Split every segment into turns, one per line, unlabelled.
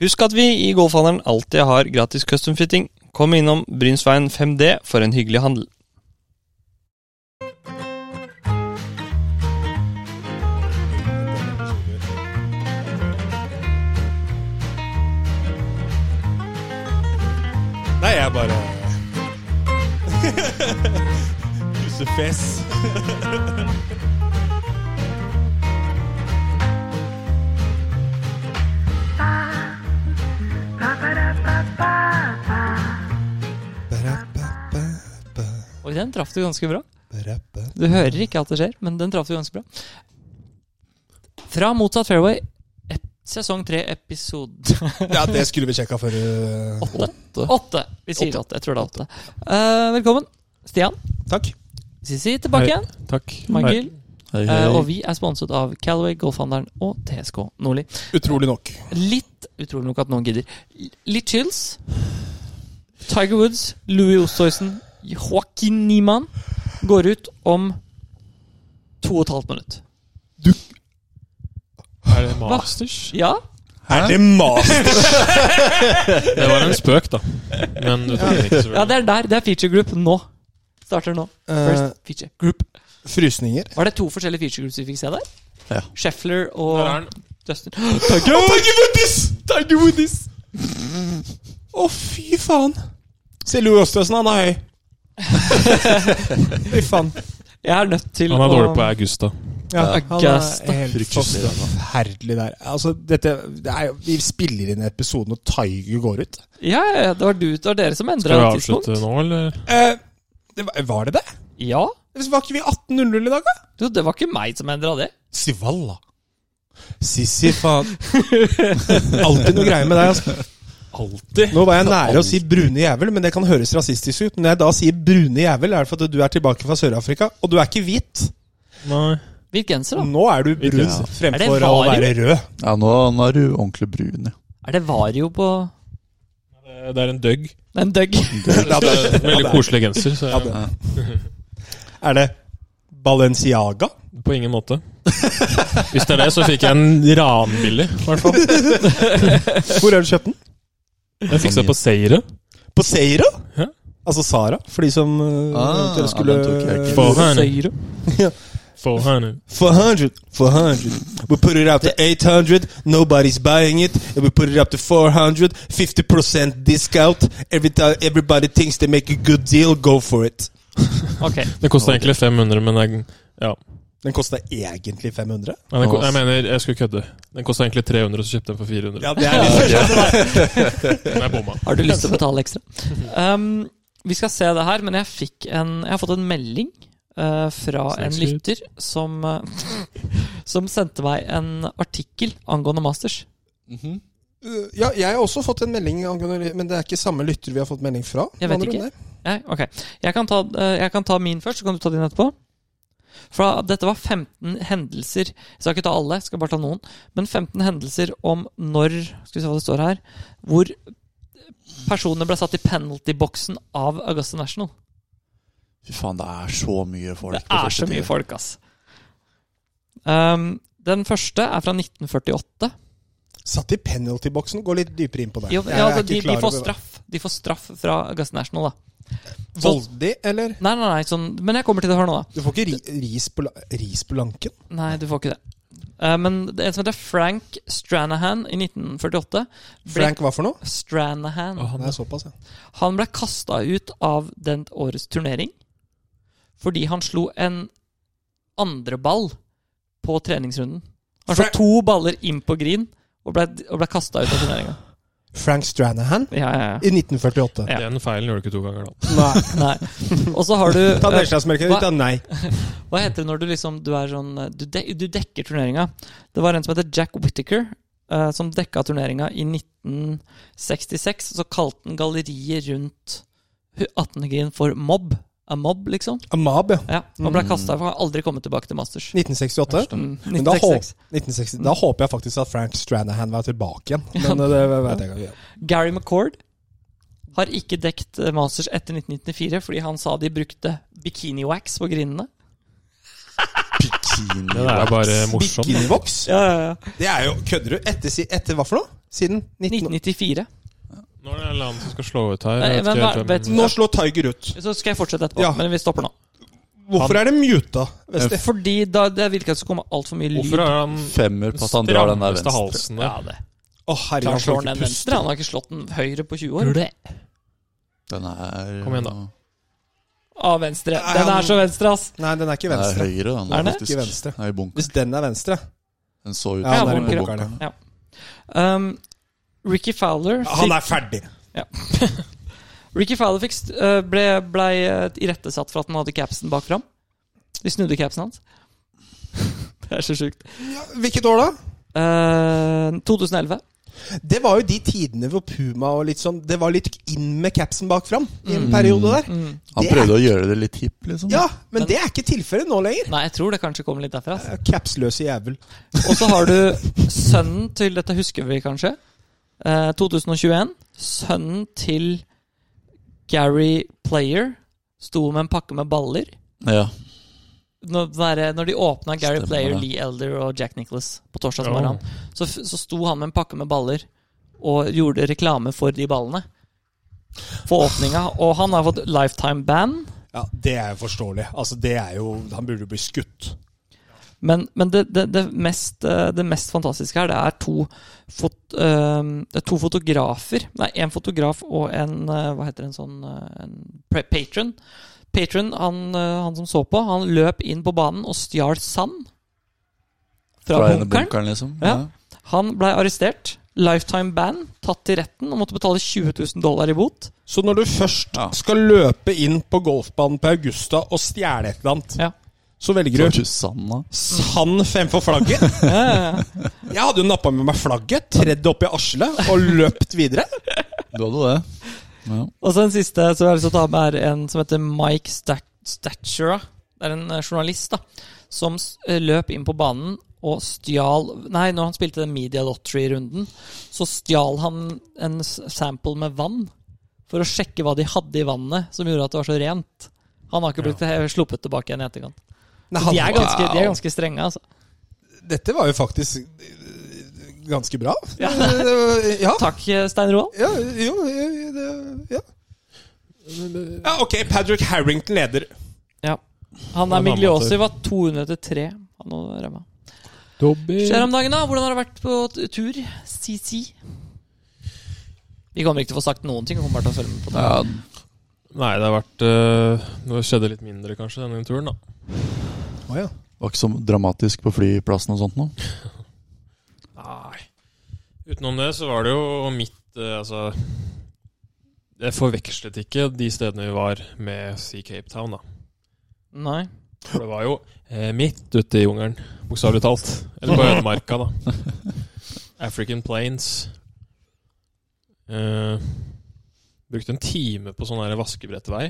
Husk at vi i Golfhandelen alltid har gratis custom fitting. Kom innom Brynsveien 5D for en hyggelig handel.
Nei, jeg bare Russefjes.
Og den traff du ganske bra. Du hører ikke alt det skjer, men den traff du ganske bra. Fra motsatt fairway, ep sesong tre, episode
Ja, det skulle vi sjekka før uh,
åtte. Åtte. Vi sier åtte. Jeg tror det er åtte. Eh, velkommen, Stian.
Takk.
Sissi tilbake
Hei.
igjen.
Takk.
Michael.
Hei, hei.
Eh, og vi er sponset av Calaway, Golfhandelen og TSK Nordli.
Utrolig nok.
Litt utrolig nok at noen gidder. L- Litt chills. Tiger Woods, Louis Ostoysen, Joaquin Niemann går ut om to og et halvt minutt.
Er det Masters?
Ja,
Er det mas?
Det var en spøk, da. Men du tok den ikke så
ja
bra.
det er der. Det er feature group nå. Starter nå. First feature group.
frysninger.
Var det to forskjellige feature groups vi fikk se der?
Ja.
Scheffler
Der er
og
den.
Dustin.
Tiger Woodies! Tiger Woodies! Å, fy faen. Se Louis Åstøsen, han er høy. Fy faen.
Jeg er nødt til
Han er dårlig på
å
Augusta.
Ja, han
August,
er helt
Fryktelig, da.
forferdelig der. Altså, dette det er, jo- Vi spiller inn episoden når Tiger går ut.
Ja, ja, det var du det var dere som endra
Skal vi
tidspunkt.
avslutte nå, eller?
Eh, det var- var det det?
Ja.
Var ikke vi 18.00 i dag, da?
Jo, det var ikke meg som endra det.
Sivalla. Sissi, faen. Alltid noe greier med deg, altså.
Alltid.
Nå var jeg nære å si brune jævel, men det kan høres rasistisk ut. Når jeg da sier brune jævel, er det fordi du er tilbake fra Sør-Afrika, og du er ikke hvit.
Nei.
Hvit genser, da.
Nå er du brun
Ja.
Er det
fremfor å
varig?
være rød.
Ja, nå, nå er du ordentlig brun. ja.
Er det Vario på
Det er en døgg.
Det er en døgg.
Veldig koselig genser. Så jeg,
Er det Balenciaga?
på ingen måte. Hvis det er det, så fikk jeg en ranbillig. i hvert fall.
Hvor har du kjøpt den?
Jeg fiksa på Seire.
På Seira?
Ja.
Altså Sara, for de som øh,
Ah,
eventuelt
ja, den tok jeg ikke.
Få henne.
Seiro.
Få henne.
400, 400. We put it up to 800, nobody's buying it. And we put it up to 400, 50% discount. Every time everybody thinks they make a good deal, go for it.
Ok.
Det kosta egentlig 500, men jeg, ja.
Den kosta egentlig 500?
Nei, den, ko- jeg mener, jeg skulle kødde. Den kosta egentlig 300, så kjøpte jeg den for 400.
det er litt
Men jeg bomma.
Har du lyst til å betale ekstra? Um, vi skal se det her, men jeg, fikk en, jeg har fått en melding eh, fra en
Snakkskritt.
lytter som, eh, som sendte meg en artikkel angående masters.
Ja, jeg har også fått en melding, angående- men det er ikke samme lytter vi har fått melding fra.
Jeg vet
Hva er det
ikke.
om det?
Jeg, ok. jeg, kan ta, eh, jeg kan ta min først, så kan du ta din etterpå. For da- dette var 15 hendelser. Jeg skal ikke ta alle, jeg skal bare ta noen. Men 15 hendelser om når Skal vi se hva det står her. Hvor personene ble satt i penalty-boksen av Augusta National.
Fy faen, det er så mye folk.
Det
på
er
første
så mye
tiden.
folk, ass. Um, den første er fra 1948.
Satt i penaltyboksen. Gå litt dypere inn på det.
Jo,
Jeg
ja,
er
altså,
ikke
de,
klar
de får
over-
straff De får straff fra Augusta National, da. Så,
Voldig, eller?
nei, nei, nei, sånn, men jeg kommer til det her nå, da.
Du får ikke ri, ris, på, la- ris på lanken?
Nei, du får ikke det. Eh, men det er en som heter Frank Stranahan i 1948. Ble,
Frank, hva for noe?
Stranahan.
Det er såpass, ja.
Han ble kasta ut av den årets turnering fordi han slo en andre ball på treningsrunden. Han slo
Fra-
to baller inn på green og ble, og ble kasta ut av turneringa.
Frank Stranahan
Ja, ja, ja.
i 1948.
Ja.
Den feilen gjør du ikke to ganger, da.
Nei.
Nei. Og så har du
Ta
eh,
nedslagsmerket ditt, da. Nei.
Hva heter det når du liksom Du, er sånn, eh, du, dek, du dekker turneringa? Det var en som heter Jack Whittaker, eh, som dekka turneringa i 1966. Så kalte han galleriet rundt hu- 18. green for mobb. A mob, liksom.
Amab, ja.
Ja, Han ble kasta for han har aldri kommet tilbake til Masters.
1968.
Mm,
Men da, hå-
1966.
1960, da håper jeg faktisk at Frank Stranahan var tilbake igjen. Men eh, det vet jeg ikke.
Gary McCord har ikke dekt eh, Masters etter 1994 fordi han sa de brukte bikini wax på grinene.
Det der er
Bikinivaks.
bare morsomt.
Bikinivoks?
Ja, ja, ja.
Det er jo Kødder du? Etter, si- etter hva for noe? Siden 19...
1994.
Nå er det en eller annen som skal slå ut her.
Nei,
Jeg vet
men
ikke
hva-
helt hvem-
vet-
Nå slår Tiger ut.
Så skal jeg fortsette etterpå,
Ja.
men vi stopper nå.
Hvorfor er det muta? Vesti?
Fordi da det virka som det kom altfor mye lyd.
Hvorfor har han
Femmer på at han drar den der
strammeste
venstre.
halsen der?
det.
Å, herre,
Han
han
slår
får
den
ikke puste.
venstre. Han har ikke slått den høyre på 20 år.
Den er
Kom igjen da.
Av venstre.
Nei,
Den
han-
er så venstre, ass!
Nei, den er ikke
Den er
venstre.
høyre, den.
Er det?
faktisk.
Ikke venstre.
Den er i bunker.
Hvis den er venstre
Den så ut
Ja,
den er i
på
bunker.
bunkeren.
Um, Ricky Fowler
Ja, Han
fikk,
er ferdig!
Ricky Fowler fikk, st- øh, ble, ble øh, irettesatt for at han hadde capsen bak fram. De snudde capsen hans. det er så sjukt.
Hvilket år da?
Eh, 2011.
Det var jo de tidene hvor Puma og litt sånn Det var litt inn med capsen bak fram i en
Mm.
periode der.
Mm.
Han
Det er-
prøvde å gjøre det litt hipp, liksom.
Ja, men det er ikke tilfellet nå lenger.
Nei, jeg tror det kanskje kommer litt derfra. ass.
Ja, Capsløse jævel.
Og så har du sønnen til Dette husker vi kanskje. Eh, 2021. Sønnen til Gary Player sto med en pakke med baller.
Ja.
Når, der- når de åpna Gary
Stemmer
Player,
det.
Lee Elder og Jack Nicholas på torsdag, som
Ja.
var han, så, f- så sto han med en pakke med baller og gjorde reklame for de ballene. For åpninga. Og han har fått lifetime ban.
Ja, Det er jo forståelig. Altså, det er jo Han burde bli skutt.
Men, men det, det, det, mest, eh, det mest fantastiske her, det er to, fot, eh, det er to fotografer. Nei, en fotograf og en eh, Hva heter det, en sånn eh, en pre- patron. Patron, han, eh, han som så på, han løp inn på banen og stjal sand fra
Fra ene
bunkeren.
bunkeren, liksom.
Ja. Han blei arrestert. Lifetime ban. Tatt til retten og måtte betale 20 000 dollar i bot.
Så når du først
Ja.
skal løpe inn på golfbanen på Augusta og stjele et eller annet,
Ja.
så velger
Så
du
Susanna.
sand fremfor flagget? Jeg hadde jo nappa med meg flagget, tredd det opp i arslet og løpt videre.
Du hadde det. Ja.
Og så en siste som jeg har lyst til å ta med, er en som heter Mike Stat Statura. Det er en eh, journalist da, som s- eh, løp inn på banen og stjal Nei, når han spilte den Media Lottery-runden, så stjal han en s- sample med vann for å sjekke hva de hadde i vannet som gjorde at det var så rent. Han har ikke blitt eh, sluppet tilbake igjen i etterkant.
Nei,
De er
han,
ganske, de er ganske strenge, altså.
dette var jo faktisk øh, ganske bra.
Ja.
Øh, ja.
Takk, eh, Stein Roald.
Ja, jo, jo, det- ja. ja, ok. Patrick Harrington leder.
Han er
Ja, da,
Migliosi,
Mathis.
var 200 til 3. Han nå rammer.
Dobby.
Skjer om dagen, da? Hvordan har det vært på t- tur? CC? Vi kommer ikke til å få sagt noen ting. vi Kommer bare til å følge med på det.
Ja,
Nei, det har vært øh, Det skjedde litt mindre, kanskje, denne turen, da.
det var ikke så dramatisk på flyplassen og sånt nå.
Nei. Utenom det så var det jo mitt eh, Altså Jeg forvekslet ikke de stedene vi var, med Sea Cape Town, da.
Nei.
For det var jo eh, midt ute i jungelen, bokstavelig talt. Eller på ødemarka, da. African Plains. Eh, brukte en time på sånn her vaskebrettvei.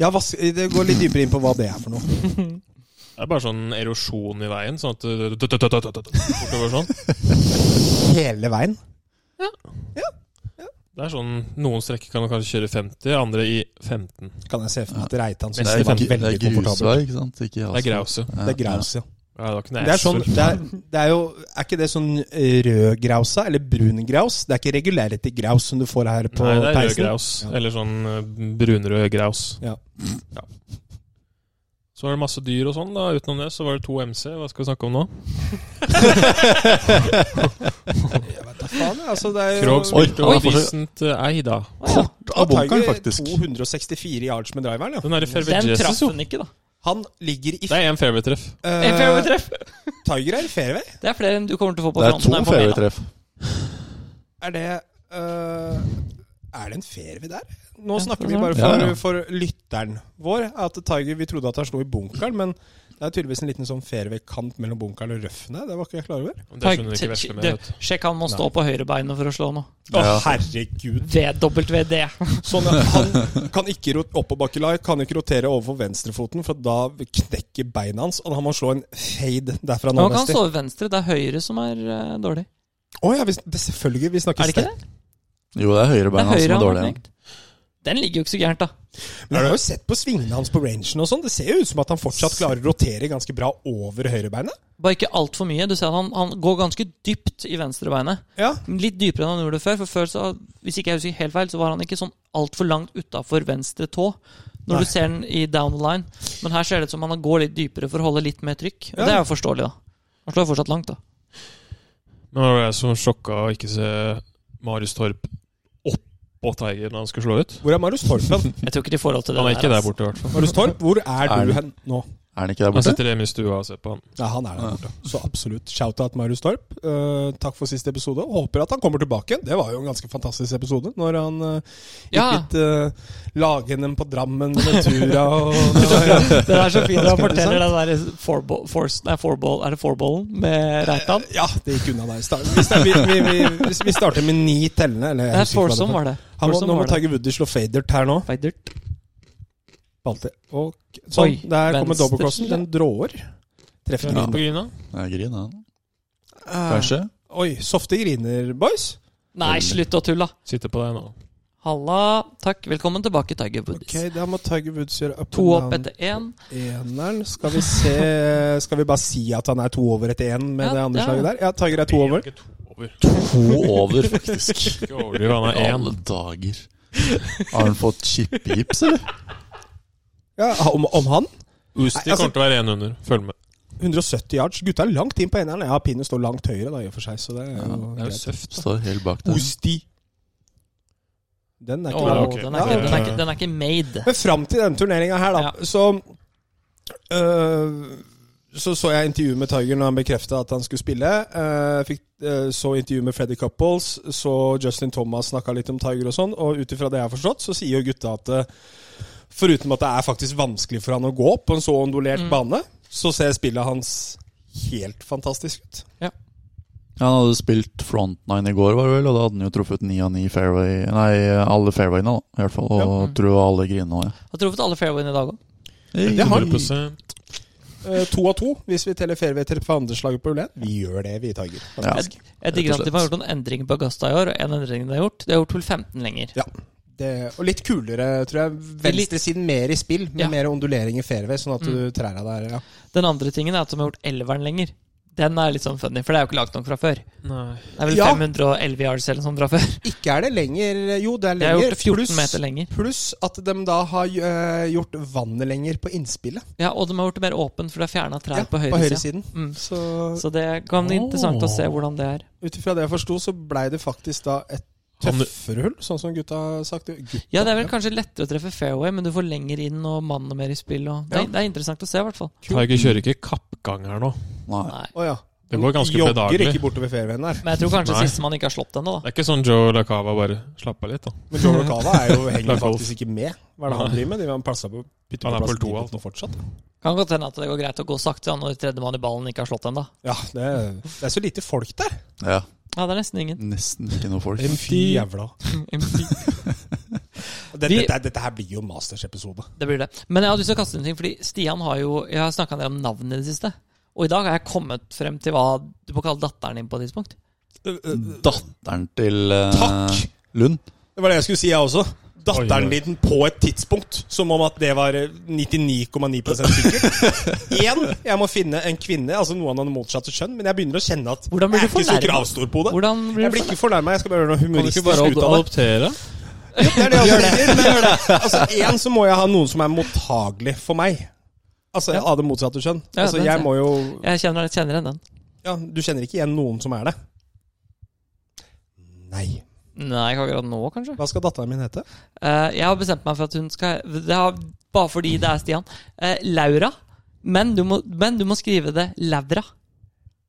Ja, vas- det går litt dypere inn på hva det er for noe.
Det er bare sånn erosjon i veien, sånn at du- du- du- du- du- du- du- du- bortover sånn.
Hele veien.
Det er sånn, Noen strekker kan du kanskje kjøre i 50, andre i 15.
Kan jeg se for meg at Reitan
Det
synes
er,
det var
gru- det er
veldig komfortabelt.
grusvei, ikke sant? Ikke altså.
Det er grause.
asfalt.
Det er graus, ja.
Ja, det var ikke noe
Det er, sånn,
asfalt.
det, er, det er jo Er ikke det sånn rød grausa eller brun graus? Det er ikke regularity graus som du får her på
Nei, det er
peisen?
rødgraus.
Ja.
Eller sånn eh, brunrød graus.
Ja.
Ja. Så var det masse dyr og sånn. da Utenom det så var det to MC. Hva skal vi snakke om nå?
Ja, faen, ja, altså, det er jo-
Krog spilte
Oi, oi.
jo Decent eh, Eida.
Kort av
Tiger
bunkeren, faktisk.
264 yards med driveren, ja.
Den er i
Den
fairway
traff
Jesus, jo.
den ikke, da. Eh,
Han ligger i
Det er én fairway-treff.
En fairway-treff.
Eh, Tiger er i fairway.
Det er flere enn du kommer til å få på
Det er
fronten.
to
her på maila.
fairway-treff.
Er det eh, Er det en fairway der? Nå snakker vi
det er
bare
det.
for,
Ja, ja.
for lytteren vår. At Tiger, Vi trodde at han slo i bunkeren, men det er tydeligvis en liten sånn fairway-kant mellom bunkeren og røffene. Det var ikke jeg klar over.
Det skjønner ikke
Tiger-
vesle med.
du,
vet du.
Sjekk, han må stå på høyrebeinet for å slå nå.
Å,
Ja.
herregud.
VWD.
Sånn at Han kan ikke rot oppoverbakkelai, kan ikke rotere overfor venstrefoten, for da knekker beina hans, og da må han slå en fade derfra
Men
nå.
Man kan
Vesti.
stå ved venstre. Det er høyre som er eh, dårlig.
Å ja, vi, det, selvfølgelig. Vi snakker
Er det ikke
sterkt.
det?
Jo, det er
Det er
høyrebeina
høyre han
som er
har
dårlig.
knekt. Den ligger jo ikke så gærent, da.
Men jeg har jo sett på svingene hans på rangen og sånn. Det ser jo ut som at han fortsatt klarer å rotere ganske bra over høyrebeinet.
Bare ikke altfor mye. Du ser at han, han går ganske dypt i venstrebeinet.
Ja.
Litt dypere enn han gjorde før. For før, så, hvis ikke jeg husker helt feil, så var han ikke sånn altfor langt utafor venstre tå. Når
Nei.
du ser den i down the line. Men her ser det ut som han går litt dypere for å holde litt mer trykk. Og
Ja.
det er jo forståelig, da. Han slår fortsatt langt, da.
Men det var jeg som sjokka å ikke se Marius Torp oppå Tiger når han skal slå ut.
Hvor er Marius Torp hen?
Jeg tror ikke de får lov til det.
Han er ikke der
altså.
borte, i hvert fall.
Marius Torp, hvor er
Er
du
det-
hen nå?
Er han ikke der
Han
borte?
sitter hjemme i stua og ser på han.
Ja, han er der borte.
Ah.
Så absolutt. Shout-out Marius Torp. Eh, takk for siste episode. Håper at han kommer tilbake. igjen. Det var jo en ganske fantastisk episode når han eh, gikk
Ja.
litt uh, lagenden på Drammen Ventura og
Det er så fint når han
Skal det
forteller den der fourball, force, nei, fourball, Er det fourballen med Reitan?
Ja, det gikk unna der. Sta- Vi, sta- vi, vi, vi, vi- vi starter med ni tellende. Eller, jeg
Nei,
husker ikke hva
foursome
var.
var det.
Han må,
Foursome
nå må
var det.
Tiger Woody slå fadert her nå.
Fighter.
Alltid. Og, sånn,
Oi,
der kommer
venstre.
dobbeltcrossen. Den dråer. Treffer
Ja.
den.
Nei, grin, han.
Eh,
Kanskje?
Oi, softe griner, boys.
Nei, slutt å tulle, da.
Sitter på deg nå.
Halla. Takk. Velkommen tilbake, Tiger Woods.
Ok, Da må Tiger Woods gjøre up
To
and down.
opp etter én.
Eneren. Skal vi se Skal vi bare si at han er to over etter én med
Ja,
det andre
ja.
slaget der? Ja, Tiger er to over.
Ikke to over.
To over, faktisk.
Ikke overdriv, han er
I
én.
alle dager. Har han fått chippegips, eller?
Ja, om, om han?
Usti
Nei, altså-
kommer til å være én under. Følg med.
170 yards. Gutta er langt inn på eneren. Ja, pinnen står langt høyere, da, i og for seg. Så det er jo
Det er jo
greit.
søft.
Står helt bak der.
Osti. Den er
Åh,
ikke
Å,
bra.
ok.
den, er ikke,
Ja,
den, er ikke, den er ikke made.
Men fram til denne turneringa her, da,
Ja.
så øh, så så jeg intervjuet med Tiger når han bekrefta at han skulle spille. Eh, fikk, eh, så intervjuet med Freddy Couples, så Justin Thomas snakka litt om Tiger og sånn. Og ut ifra det jeg har forstått, så sier jo gutta at eh, foruten at det er faktisk vanskelig for han å gå opp på en så ondulert bane, så ser spillet hans helt fantastisk ut.
Ja, Han hadde spilt frontnine i går, var det vel, og da hadde han jo truffet ni av ni fairway Nei, alle fairwayene, da, i hvert fall. Og
Ja.
tror alle grinene òg,
Har truffet alle fairwayene i dag òg.
ja.
Det har han.
100
Eh, to av to, hvis vi teller fairway til på andreslaget på Ulen. Vi gjør det, vi, Tiger.
Ja.
Faktisk.
Jeg
Rett
digger
og
at de har gjort noen endringer på Augusta i år. Og en endring de har gjort, de har gjort hull 15 lenger.
Det, og litt kulere, tror jeg. Venstresiden mer i spill, med
Ja.
mer ondulering i fairway, sånn at
Mm.
du trær deg der. Ja.
Den andre tingen er at de har gjort elveren lenger. Den er litt sånn funny, for det er jo ikke lagt nok fra før.
Nei.
Det er vel
Ja.
511 yards eller noe sånt fra før.
Ikke er det lenger Jo, det er
De har
lenger.
gjort det 14
pluss-
meter lenger.
Pluss at de da har eh, gjort vannet lenger på innspillet.
Ja, Og de har gjort det mer åpent, for de har fjerna trær
Ja,
på
på
høyre side.
høyresiden.
Mm.
Så
Så det kan bli interessant å se hvordan det er.
ut ifra det jeg forsto, så blei det faktisk da et
Han-
tøffere hull, sånn som gutta har sagt. Gutta,
Ja, det er vel kanskje lettere å treffe fairway, men du får lenger inn og mannen mer i spill. Og det,
Ja.
er, det er interessant å se, i hvert fall.
Tiger kjører ikke kappgang her nå.
Nei.
Nei.
Å ja.
Det går ganske
Jogger
bedagelig.
ikke bortover fairwayen der.
Men jeg tror kanskje
Nei.
sistemann ikke har slått ennå, da.
Det er ikke sånn Joe LaCava bare slapp av litt, da.
Men Joe Locava er jo henger
Black Wolf.
faktisk ikke med. Hva er det han driver med? De har plasser på
Han er
bytteplassen
på to,
til
altså.
Bolton fortsatt.
Kan godt hende at det går greit å gå sakte ja, når tredjemann i ballen ikke har slått ennå.
Ja, det, det er så lite folk der.
Ja,
Ja, det er nesten ingen.
nesten ikke noe folk.
Fy jævla.
det
Dette,
Vi-
dette, dette her blir jo Masters-episode.
blir det. Men jeg hadde lyst til å kaste inn en ting, fordi Stian har jo Jeg har snakka en del om navn i det siste. Og i dag har jeg kommet frem til hva du må kalle datteren din på et tidspunkt. eh,
Datteren til eh,
Takk!
Lund.
Det var det jeg skulle si, jeg også. Datteren
Oi, oi.
din på et tidspunkt. Som om at det var eh, 99,9 sikkert. Igjen, jeg må finne en kvinne, altså noen av det motsatte kjønn, men jeg begynner å kjenne at
Hvordan blir
jeg
du
er ikke så
fornærmet?
kravstor på det.
Hvordan blir
Jeg
det?
blir ikke fornærma, jeg skal bare gjøre noe
Kan du ikke
humoristisk
bare
ut av det.
adoptere?
Jo, Det er det jeg også sier. Men altså, én så må jeg ha noen som er mottagelig for meg. Altså
Ja.
av det motsatte kjønn.
Ja,
Altså,
den ser
jeg må jo
sånn? Jeg kjenner, kjenner igjen den.
Ja, du kjenner ikke igjen noen som er det? Nei.
Nei, ikke akkurat nå, kanskje.
Hva skal datteren min hete?
Eh, jeg har bestemt meg for at hun skal det har, Bare fordi det er Stian. Eh, Laura. Men du, må, men du må skrive det Laura.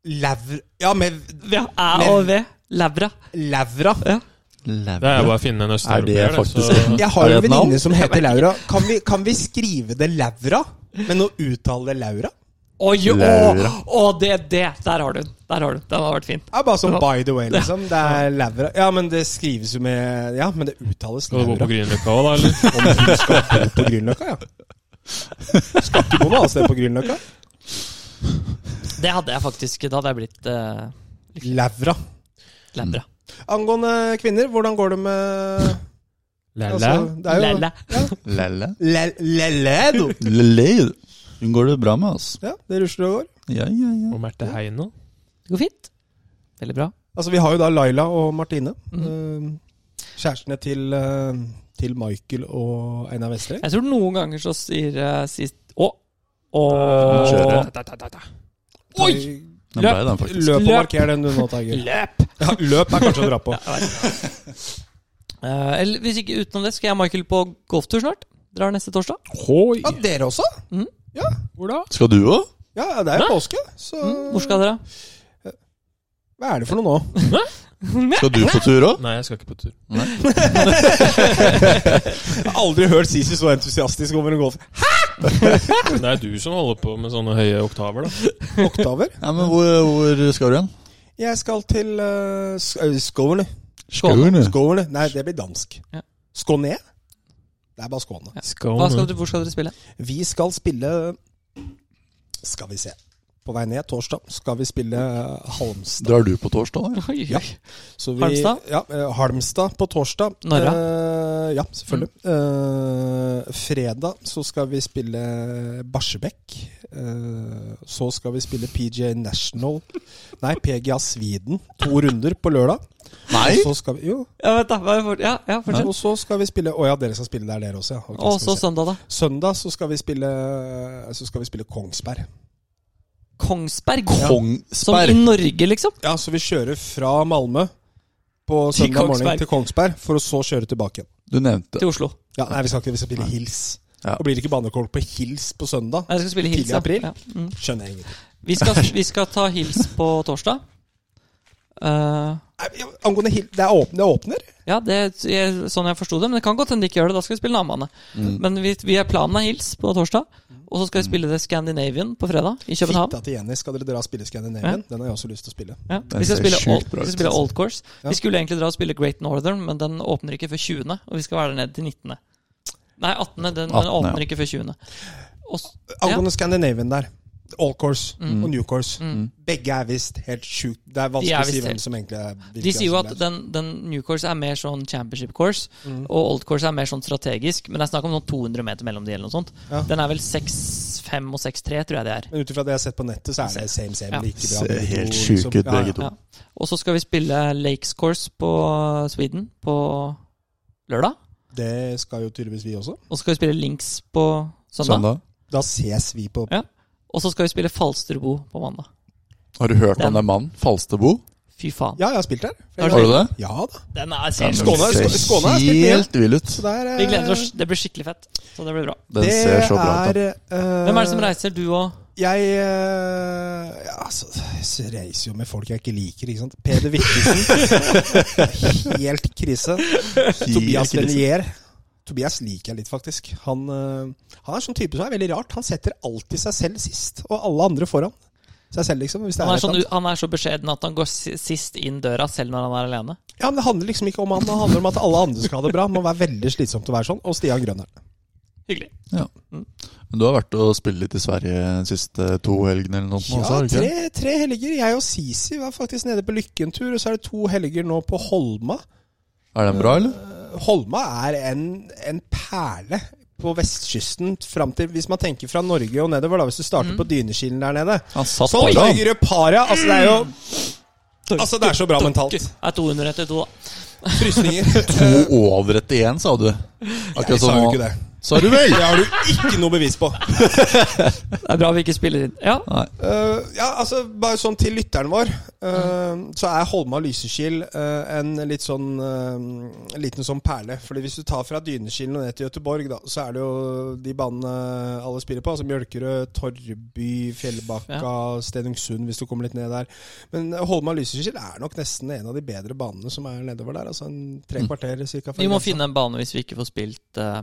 Lavr... Ja, med
Ja, Æ og V. Laura.
Lavra.
Det er
Lever.
bare å finne en
Er det
østeuropeer, det.
faktisk
Så
Jeg har
Er
jo en
det et navn?
venninne som heter Laura. Kan vi, kan vi skrive det Lavra, men å uttale det Laura?
Oi, å,
Laura.
å, det, det! Der har du den. Der har du den. Den har vært fin.
Det er bare sånn by the way, liksom. Det er Lavra. Ja, men det skrives jo med Ja, men det uttales
skal du bo på
Laura.
Grünerløkka òg, da? Eller?
Om hun skal bo på Grünerløkka, ja. Skal ikke bo noe annet sted på Grünerløkka.
Det hadde jeg faktisk. Da hadde jeg blitt uh,
Lavra.
Laura.
Angående kvinner, hvordan går det med
La-la.
Altså, det er jo
Lala.
Lelle.
Le- Leledo.
Lelle. Hun går det bra med, altså.
Ja, det rusler og går.
Ja, ja, ja.
Og Merte Heine.
Det går fint. Veldig bra.
Altså, vi har jo da Laila og Martine.
Mhm.
eh, kjærestene til, eh, til Michael og Einar Vestre.
Jeg tror noen ganger så sier eh, sist Å! Å!
Kjøre.
Oi!
Den ble den, faktisk.
Løp og
Løp.
marker den du nå, Tiger.
Løp!
Ja, løp er kanskje å dra på.
Eh, eller hvis ikke utenom det, skal jeg og Michael på golftur snart. Drar neste torsdag.
Hoi!
Ja, dere også?
Hvor da?
Skal du òg?
Ja, ja, det er jo påske, så
Mm, hvor skal dere?
Hva er det for noe nå?
Skal du på tur òg?
Nei, jeg skal ikke på tur.
Jeg har aldri hørt Sisi så entusiastisk over en golf.
Det er du som holder på med sånne høye oktaver, da.
Oktaver.
Ja, men hvor, hvor skal du hen?
Jeg skal til uh, Skåne.
Skåne.
Skåne. Nei, det blir dansk.
Ja.
Skåne? Det er bare Skåne.
Skal
Hva skal dere, hvor skal dere spille?
Vi skal spille Skal vi se. På vei ned torsdag skal vi spille eh, Halmstad.
Drar du på torsdag, eller?
Oi,
Ja. Så vi,
Halmstad?
Ja, eh, Halmstad på torsdag.
Norra?
Eh, ja, selvfølgelig.
Mm.
Eh, fredag så skal vi spille Barsebäck. Eh, så skal vi spille PGA National Nei, PGA Sweden. To runder på lørdag.
Nei!
Og så skal vi, jo,
Ja, vent da, hva er for, ja, ja, fortsett.
og så skal vi spille Å ja, dere skal spille der, dere også. Ja. Ok,
Og
skal
så
vi se.
søndag, da.
Søndag så skal vi spille Så skal vi spille Kongsberg.
Kongsberg. Som i
Kongsberg.
Norge, liksom.
Ja, så vi kjører fra Malmö på
Til
søndag morgen
Kongsberg.
til Kongsberg, for å så kjøre tilbake igjen.
Du nevnte
Til Oslo.
Ja, nei, vi skal ikke, vi skal spille Hils.
Ja.
Og blir det ikke banekål på Hils på søndag,
Nei, Jeg skal spille hils.
Tidlig
ja.
april?
Ja. Mm.
skjønner jeg ingenting.
Vi, skal, vi skal ta hils på torsdag. Eh,
Nei, ja, Angående Hils, det er åpne, det åpner?
ja, det er sånn jeg forsto det. Men det kan godt hende de ikke gjør det. Da skal vi spille Namane.
Mm.
Men vi, vi er planen er hils på torsdag. Og så skal vi spille det Scandinavian på fredag i København.
Fitta til Jenny, skal dere dra og spille Scandinavian? Den har jeg også lyst til å spille.
Ja.
Den
Vi, skal
ser
spille
sjukt
old,
bra
vi skal
ut,
spille
altså.
Old Course.
Ja.
Vi skulle egentlig dra og spille Great Northern, men den åpner ikke før 20. Og vi skal være der nede til 19. Nei, 18. Den, den
18.,
åpner
ja.
ikke før 20. Og, s- ja.
Angående Scandinavian der. All course og new course.
Mm.
Begge er visst helt sjukt Det er
De
vanskelig å
er
si
visst
hvem
helt-
som egentlig er
De
hvilken
sier jo
som
at
altså
er.
den, den new course er mer sånn championship course,
Mm.
og old course er mer sånn strategisk. Men det er snakk om sånn 200 meter mellom de eller noe sånt.
Ja.
Den er vel 6-5 og 6-3, tror jeg det er.
Men ut ifra det jeg har sett på nettet, så er det same, same.
Ja.
Like bra.
Ser
begge to,
helt
liksom.
sjuke ut,
Ja, ja.
begge to.
Ja. Og så skal vi spille Lakes course på Sweden på lørdag.
Det skal jo tydeligvis vi også.
Og så skal vi spille Links på søndag.
Søndag.
Da ses vi på
Og så skal vi spille Falsterbo på mandag.
Har du hørt om
Den.
den mannen? Falstebo?
Fy faen.
Ja, jeg har spilt der.
Har
Har du det?
Ja da.
Den er
Den
seriøs.
Skåne-
ser
Skåne- Skåne har spilt mye.
helt vill ut.
Så det er eh,
Vi gleder oss. Det blir skikkelig fett. Så det blir bra.
Den ser så bra ut. da.
Hvem er Eh, det som reiser? Du og
Jeg eh, ja, altså, jeg reiser jo med folk jeg ikke liker, ikke sant. Peder Vikkelsen. helt krise. Tobias
Helt krise.
Denier. Tobias liker jeg litt, faktisk. Han, eh, han er sånn type som er veldig rart. Han setter alltid seg selv sist, og alle andre foran. Seg selv, liksom. Hvis det
han
er
er,
et
sånn,
eller annet.
han er så beskjeden at han går si- sist inn døra, selv når han er alene.
Ja, men Det handler liksom ikke om han, det handler om at alle andre skal ha det bra. Det må være veldig slitsomt å være sånn. Og Stian Grønneren.
Hyggelig.
Men du har vært og spilt litt i Sverige de siste to helgene eller noe sånt? også,
Ja,
har du ikke
tre,
det?
tre helger. Jeg og Sisi var faktisk nede på Lykkentur, og så er det to helger nå på Holma.
Er den bra, eller?
Holma er en, en perle på vestkysten fram til Hvis man tenker fra Norge og nedover, da, hvis du starter på Dynekilen der nede.
Han satt
Sånn
foran.
Torgerud Para! Altså, det er jo Altså, det er så bra mentalt.
Er 200 etter to, da.
Frysninger.
To over etter én, sa du.
Jeg
Akkurat
sa
som
jo
nå.
ikke det.
Sa du vel?
Det har du ikke noe bevis på.
Det er bra vi ikke spiller inn. Ja,
Eh, ja, altså Bare sånn til lytteren vår, eh, så er Holma Lysekil eh, en litt sånn eh, liten sånn perle. Fordi hvis du tar fra Dynekilen og ned til Gøteborg, da, så er det jo de banene alle spiller på. Altså Mjølkerød, Torreby, Fjellbakka, Stenungsund, hvis du kommer litt ned der. Men eh, Holma Lysekil er nok nesten en av de bedre banene som er nedover der. Altså en tre kvarter cirka. fra
Vi må
grensa.
finne en bane hvis vi ikke får spilt eh,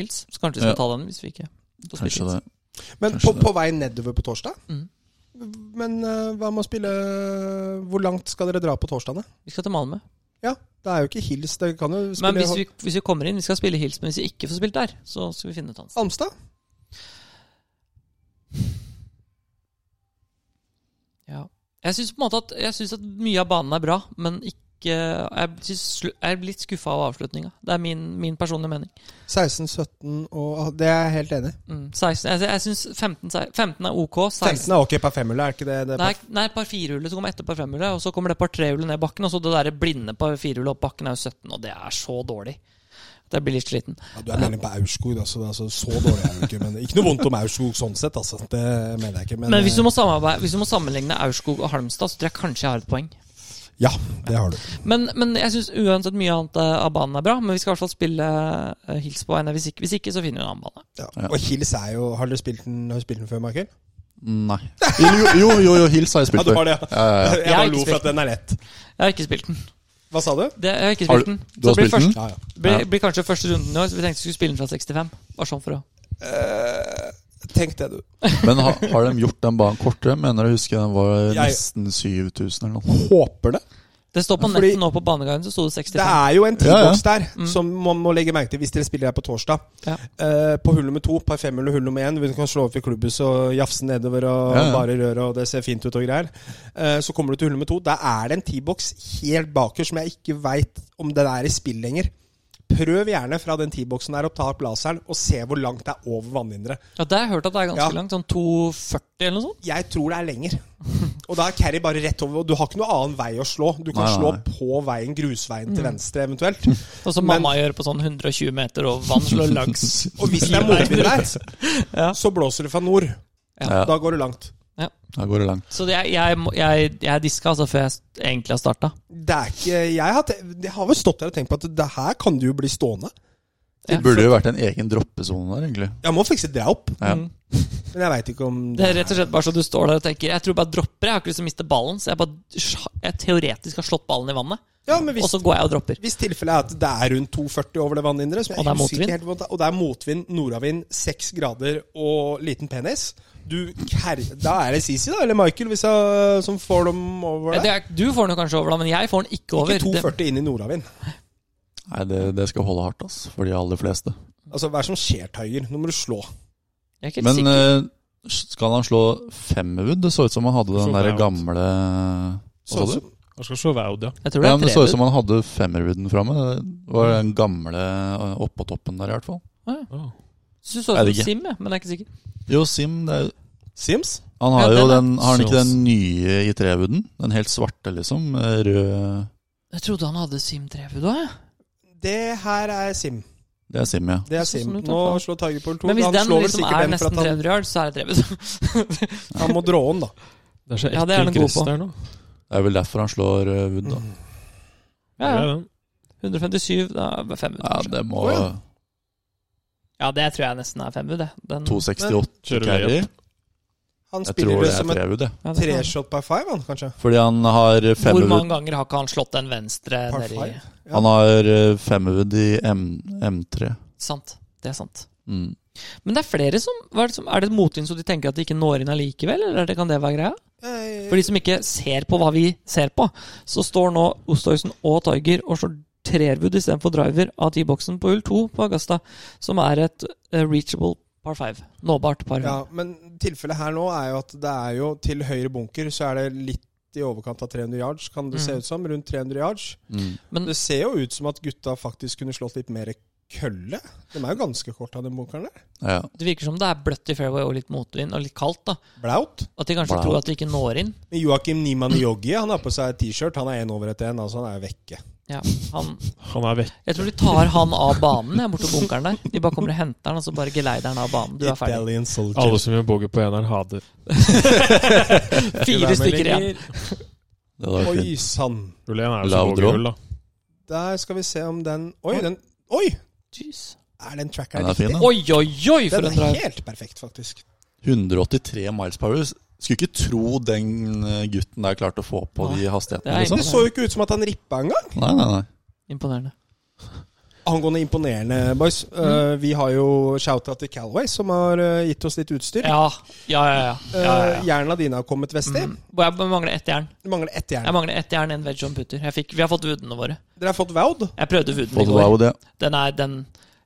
hils. Så kanskje vi skal
Ja.
ta den hvis vi ikke får spilt
Kanskje
hils.
det.
Men på,
Kanskje det.
på vei nedover på torsdag?
Mhm.
Men eh, hva med å spille Hvor langt skal dere dra på torsdagene?
Vi skal til Malmö.
Ja, det er jo ikke hils. Det kan jo spille
Men hvis vi, hvis vi kommer inn Vi skal spille hils, men hvis vi ikke får spilt der, så skal vi finne ut hans.
Halmstad.
Ja. Jeg syns på en måte at Jeg synes at mye av banen er bra, men ikke ikke Jeg synes- jeg er litt skuffa av avslutninga. Det er min, min personlige mening.
16, 17
ah,
og Det er jeg helt enig i.
Mm, 16, jeg jeg syns 15, se- 15 er ok. 16
15 er ok, par femhjulet, er ikke det? det er
Nei, nei, par firehjulet som kommer etter par femhjulet, og så kommer det par trehjulet ned bakken, og så det der blinde par firehjulet opp bakken er jo 17, og det er så dårlig. Jeg blir litt sliten.
Ja, du er medlem på Aurskog, altså, det er altså. Så dårlig er du ikke. Men ikke noe vondt om Aurskog sånn sett, altså. Det mener jeg ikke. Men, eh,
Men hvis du må, samarbeide, hvis du må sammenligne Aurskog og Halmstad, så tror jeg kanskje jeg har et poeng.
eh, Ja, det har du.
Men, men jeg syns uansett mye annet eh, av banen er bra. Men vi skal i hvert fall spille eh, hils på henne. Hvis ikke, hvis ikke så finner vi en annen bane.
Ja. Og Hils er jo Har du spilt den, har du spilt den før, Michael?
Nei. Jo, jo, jo, jo Hils har jeg spilt før.
det,
Ja, ja, ja.
Jeg
Jeg har
bare
ikke
lo for
spilt
at den er lett.
Jeg har ikke spilt den.
Hva sa du?
Det, jeg har ikke
Har
spilt
du,
den.
du har
blir
spilt den?
Ja, ja.
Blir,
Ja.
blir kanskje første runden i år, så vi tenkte vi skulle spille den fra 65. Bare sånn for å
Eh, tenk det, du.
Men har, har de gjort den banen kortere? Mener jeg husker den var
Jeg-
nesten 7000 eller noe.
Håper det.
Det står på
Ja, fordi-
nettet nå på Baneguiden, så sto det
Det
65.
er jo en
Ja, ja.
tiboks der som man må legge merke til hvis dere spiller her på torsdag.
Ja.
Eh, på hull nummer to, par femhull og hull nummer én. Du kan slå opp i klubbhus og jafse nedover og
Ja, ja.
bare røre, og det ser fint ut og greier. Eh, så kommer du til hull nummer to. Der er det en T-boks helt baker som jeg ikke veit om den er i spill lenger. Prøv gjerne fra den T-boksen der å ta opp laseren og se hvor langt det er over vannhinderet.
Ja, det har jeg hørt at det er ganske
Ja.
langt. Sånn 2,40 eller noe sånt.
Jeg tror det er lenger. Og da er carry bare rett over, og du har ikke noen annen vei å slå. Du kan
Nei, nei,
slå
nei.
på veien, grusveien til venstre eventuelt.
Og som
Men-
mamma gjør på sånn 120 meter, og vann slår langs.
Og hvis det er motvind der,
Ja.
så blåser det fra nord.
Ja.
Da går det langt.
Da går det langt.
Så jeg, jeg, må- jeg, jeg diska altså før jeg egentlig har starta.
Det er ikke Jeg har, te- jeg har vel stått der og tenkt på at det her kan du jo bli stående.
Det burde jo vært en egen droppesone der, egentlig.
Jeg må fikse det opp,
Ja.
Mm.
men jeg veit ikke om
Det er rett og slett bare så du står der og tenker Jeg tror jeg bare dropper, jeg har ikke lyst til å miste ballen. Så jeg bare sj- jeg teoretisk har slått ballen i vannet,
Ja, men
og
hvis,
så går jeg og dropper.
hvis tilfellet er at det er rundt 2,40 over det vannhinderet som jeg
Og det er
husker ikke
motvind.
helt hvor det er- Og det er motvind, nordavind, seks grader og liten penis du, kær, Da er det Sisi, da, eller Michael, hvis jeg, som får dem over
Det
der.
er, du får den jo kanskje over, da, men jeg får den ikke over.
Ikke 2,40 inn i nordavind.
Nei, det, det skal holde hardt, ass. For de aller fleste.
Altså, hva er det som skjer, Tiger? Nå må du slå.
jeg er ikke helt
Men
sikker.
eh, skal han slå femmerwood? Det så ut som han hadde den
Slå
der
femmerwood.
gamle Hva sa du?
Han skal slå Vaud, ja.
Jeg tror det
Ja,
er
men det
tre
så ut
bud.
som han hadde femmerwooden framme. Det var den gamle eh, oppå toppen der, i hvert fall.
Så du så
Jeg
ut
vet
som
ikke.
Sim, jeg, men jeg er ikke sikker.
Jo, Sim det er,
Sims?
Han har
Ja,
jo
den er-
den Har han ikke
Sims.
den nye i trewooden? Den helt svarte, liksom? eh, Rød
Jeg trodde han hadde Sim 3-bud òg, jeg.
Det her er Sim.
Det er Sim, ja.
Det er
Så
Sim.
sånn ut,
Nå
da.
slår Tiger på hull 2.
Men hvis
han
den
slår vel
liksom
sikkert
er
den for
nesten
at
300 yard, så er det 3-bud.
han, han må drå den, da.
Det er så
Ja, det er
ekkel
den god
gress
på.
der nå.
Det er vel derfor han slår eh, Wood,
Mm.
Mm.
da.
Ja,
Det er
ja.
den.
157, da er det 5
Ja, det må
Å, ja.
Ja, det tror jeg nesten er 5-bud, det. Den,
268
Kjører vi
carry.
Han
Jeg
spiller
tror
det
det er
som et
trewud, jeg.
ja, det kan-
treshot by five, han kanskje.
Fordi han har
Hvor
femmerwood
mange ganger har ikke han slått den venstre
Par
nedi
five? Ja.
Han har eh, femmerwood i M M3.
Sant. Det er sant.
Mm.
Men det er flere som hva Er det, som, er det motvind så de tenker at de ikke når inn allikevel, eller er det, kan det være greia?
Eh,
For de som ikke ser på hva vi ser på, så står nå Osthøysen og Tiger og slår treerwood istedenfor driver av T-boksen på hull 2 på Agasta, som er et eh, reachable par 5. Nåbart par 5.
ja, men tilfellet her nå er jo at det er jo til høyre bunker, så er det litt i overkant av 300 yards, kan det se
Mm.
ut som. Rundt 300 yards.
Mm.
Men
Det ser jo ut som at gutta faktisk kunne slått litt mer kølle. De er jo ganske korte av den bunkeren der.
Ja.
det virker som det er bløtt i fairway og litt motvind og litt kaldt. da
Blaut.
At de kanskje
Wow.
tror at de ikke når inn.
Men Joakim Nimaniyogi, han har på seg T-skjørt. Han er én over etter én, altså han er jo vekke.
Ja, han,
Han er vekk.
jeg tror de tar han av banen jeg, borte på bunkeren der. De bare kommer og henter han, og så bare geleider han av banen. Du er ferdig.
Italian soldier.
Alle som gjør boogie på eneren, hater.
Fire stykker igjen.
Det var fint.
Oi sann.
Rull 1 er jo så
Laudrup.
bogeyhull, da.
Der skal vi se om den Oi! den Oi!
Jeez.
Er den
Den
trackeren
er fin,
riktig?
da.
Oi, oi, oi, for
Den
en drive!
er helt perfekt, faktisk.
183 miles per hour. Skulle ikke tro den eh, gutten der klarte å få på de hastighetene.
Nei,
Liksom.
Det så jo ikke ut som at han rippa engang.
Nei, nei, nei.
Imponerende.
Angående imponerende, boys. eh,
Mm.
vi har jo shout-out til Calway, som har eh, gitt oss litt utstyr.
Ja, ja, ja. ja. ja, ja, ja.
Eh, Jerna dine har kommet vesti.
Mm. Og Jeg mangler ett jern.
Det mangler ett jern.
Jeg mangler ett jern, en veg og en putter. Jeg fikk, vi har fått vudene våre.
Dere har fått Vaud.
Jeg prøvde vuden i
Både
går.
wow og det.
Den er den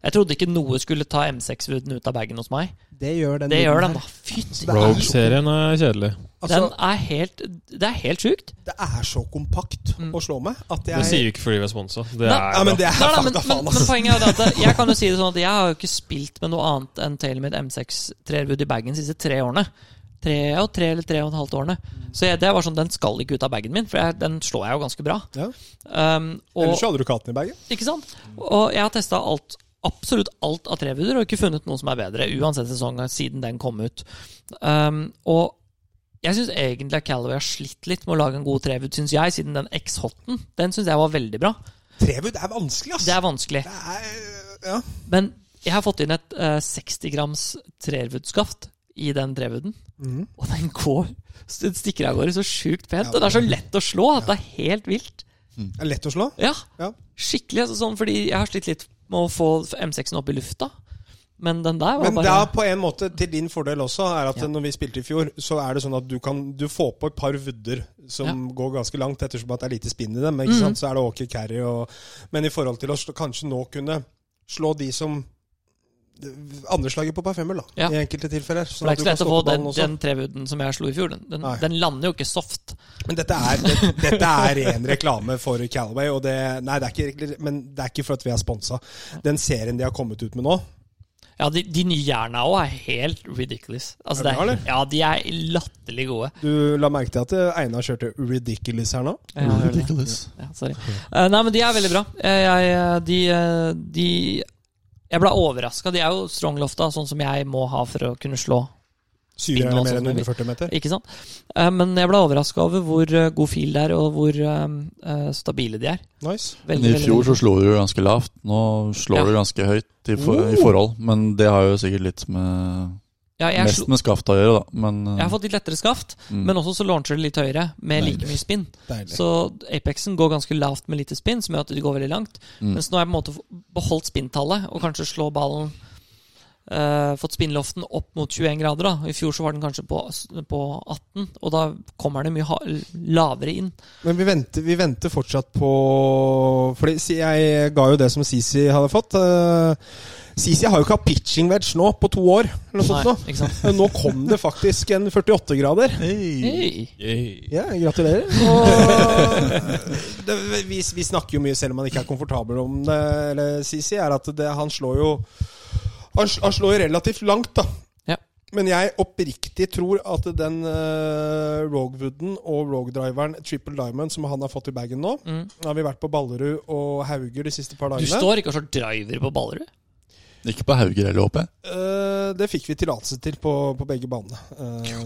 Jeg trodde ikke noe skulle ta M6-vuden ut av bagen hos meg.
Det gjør den.
Det gjør den,
lyden
da. Fytti
Det er-
Rogue-serien er kjedelig.
her.
Den
Altså,
er helt Det er helt sjukt.
det er så kompakt
Mm.
å slå med at
Det sier
jeg
vi ikke fordi vi er sponsa. Det
Nei,
er
Ja, men det er
Nei, nei, men,
fakta,
men,
faen,
men
altså.
poenget er jo det at jeg kan jo si det sånn at jeg har jo ikke spilt med noe annet enn Tailmid M6 treerbud i bagen de siste tre årene. Tre og tre eller tre og et halvt årene. Så jeg, det var sånn, den skal ikke ut av bagen min, for jeg, den slår jeg jo ganske bra.
Ja.
Um,
Ellers
og,
så hadde du katten i bagen.
ikke sant? Og jeg har testa alt, absolutt alt av trebuder og ikke funnet noe som er bedre, uansett sesong siden den kom ut. Um, og jeg syns egentlig at Callaway har slitt litt med å lage en god trevud, syns jeg, siden den X-hotten. Den syns jeg var veldig bra.
Trevud er vanskelig, ass.
Det er vanskelig.
Det er, ja.
Men jeg har fått inn et eh, 60 grams trervudskaft i den trevuden.
Mhm.
Og den går så Den stikker av gårde så sjukt pent. Og det er så lett å slå at det er helt vilt.
Det er lett å slå.
Ja,
Ja.
Skikkelig. Altså, sånn fordi jeg har slitt litt med å få M6-en opp i lufta. Men den der var
Men det
bare
er på en måte til din fordel også, er at
Ja.
når vi spilte i fjor, så er det sånn at du kan Du får på et par vudder som går ganske langt, ettersom at det er lite spinn i dem. Ikke
Mhm.
sant? Så er det ok carry og Men i forhold til å slå- kanskje nå kunne slå de som andre slaget på par femmer, da.
Ja.
I enkelte tilfeller. sånn
For det er
at du
ikke
kan
så lett å
stå
få
på
den,
ballen også.
den trevuden som jeg slo i fjor. Den, den,
Nei.
den lander jo ikke soft.
Men dette er, det, dette er ren reklame for Calaway. Og det, nei, det er ikke, regler- men det er ikke for at vi er sponsa. Den serien de har kommet ut med nå,
Ja, De, de nye jerna òg er helt ridiculous.
Er
Altså, det
det bra,
er, ja, De er latterlig gode.
Du la merke til at eh, Einar kjørte Ridiculous her nå?
Ja, jeg hører det.
Ridiculous.
Ja, sorry. Eh, nei, men de er veldig bra. Eh, jeg, eh, de, eh, de Jeg ble overraska. De er jo stronglofta, sånn som jeg må ha for å kunne slå.
Syre er
Nå,
det mer
sånn
enn 140 meter.
Ikke sant? Eh, men jeg ble overraska over hvor eh, god fil det er, og hvor eh, eh, stabile de er.
Nice.
Veldig,
Men I
veldig,
fjor
veldig.
så slo du ganske lavt. Nå slår
Ja. Oh.
du ganske høyt i, for, i forhold. Men det har jo sikkert litt med
ja, jeg,
Mest
slo,
med skaftet å gjøre, da. Men
jeg har fått litt lettere skaft,
mm.
men også så launcher de litt høyere, med like
Deilig.
mye spinn.
Deilig.
Så Apexen går ganske lavt med lite spinn, som gjør at de går veldig langt.
Mm.
Mens nå har jeg på en måte beholdt spinntallet, og kanskje slå ballen eh, Fått spinnloften opp mot 21 grader. da I fjor så var den kanskje på, på 18, og da kommer den mye ha lavere inn.
Men vi venter, vi venter fortsatt på Fordi si- jeg ga jo det som Sisi hadde fått. eh, Sisi har jo ikke hatt pitching wedge nå på to år. Eller noe sånt nå.
ikke sant?
Men Nå kom det faktisk en 48-grader.
Hey.
Yay.
Ja, gratulerer. Og det, vi, vi snakker jo mye, selv om han ikke er komfortabel om det, eller Sisi, er at det, han slår jo han, sl- han slår jo relativt langt, da.
Ja.
Men jeg oppriktig tror at den uh, Rogwooden og Rogdriveren Triple Diamond som han har fått i bagen nå
Mm.
Nå har vi vært på Ballerud og Hauger de siste par
Du
dagene.
står ikke og slår driver på Ballerud?
Ikke på Hauger heller, håper jeg.
Eh, det fikk vi tillatelse til på, på begge banene. Eh,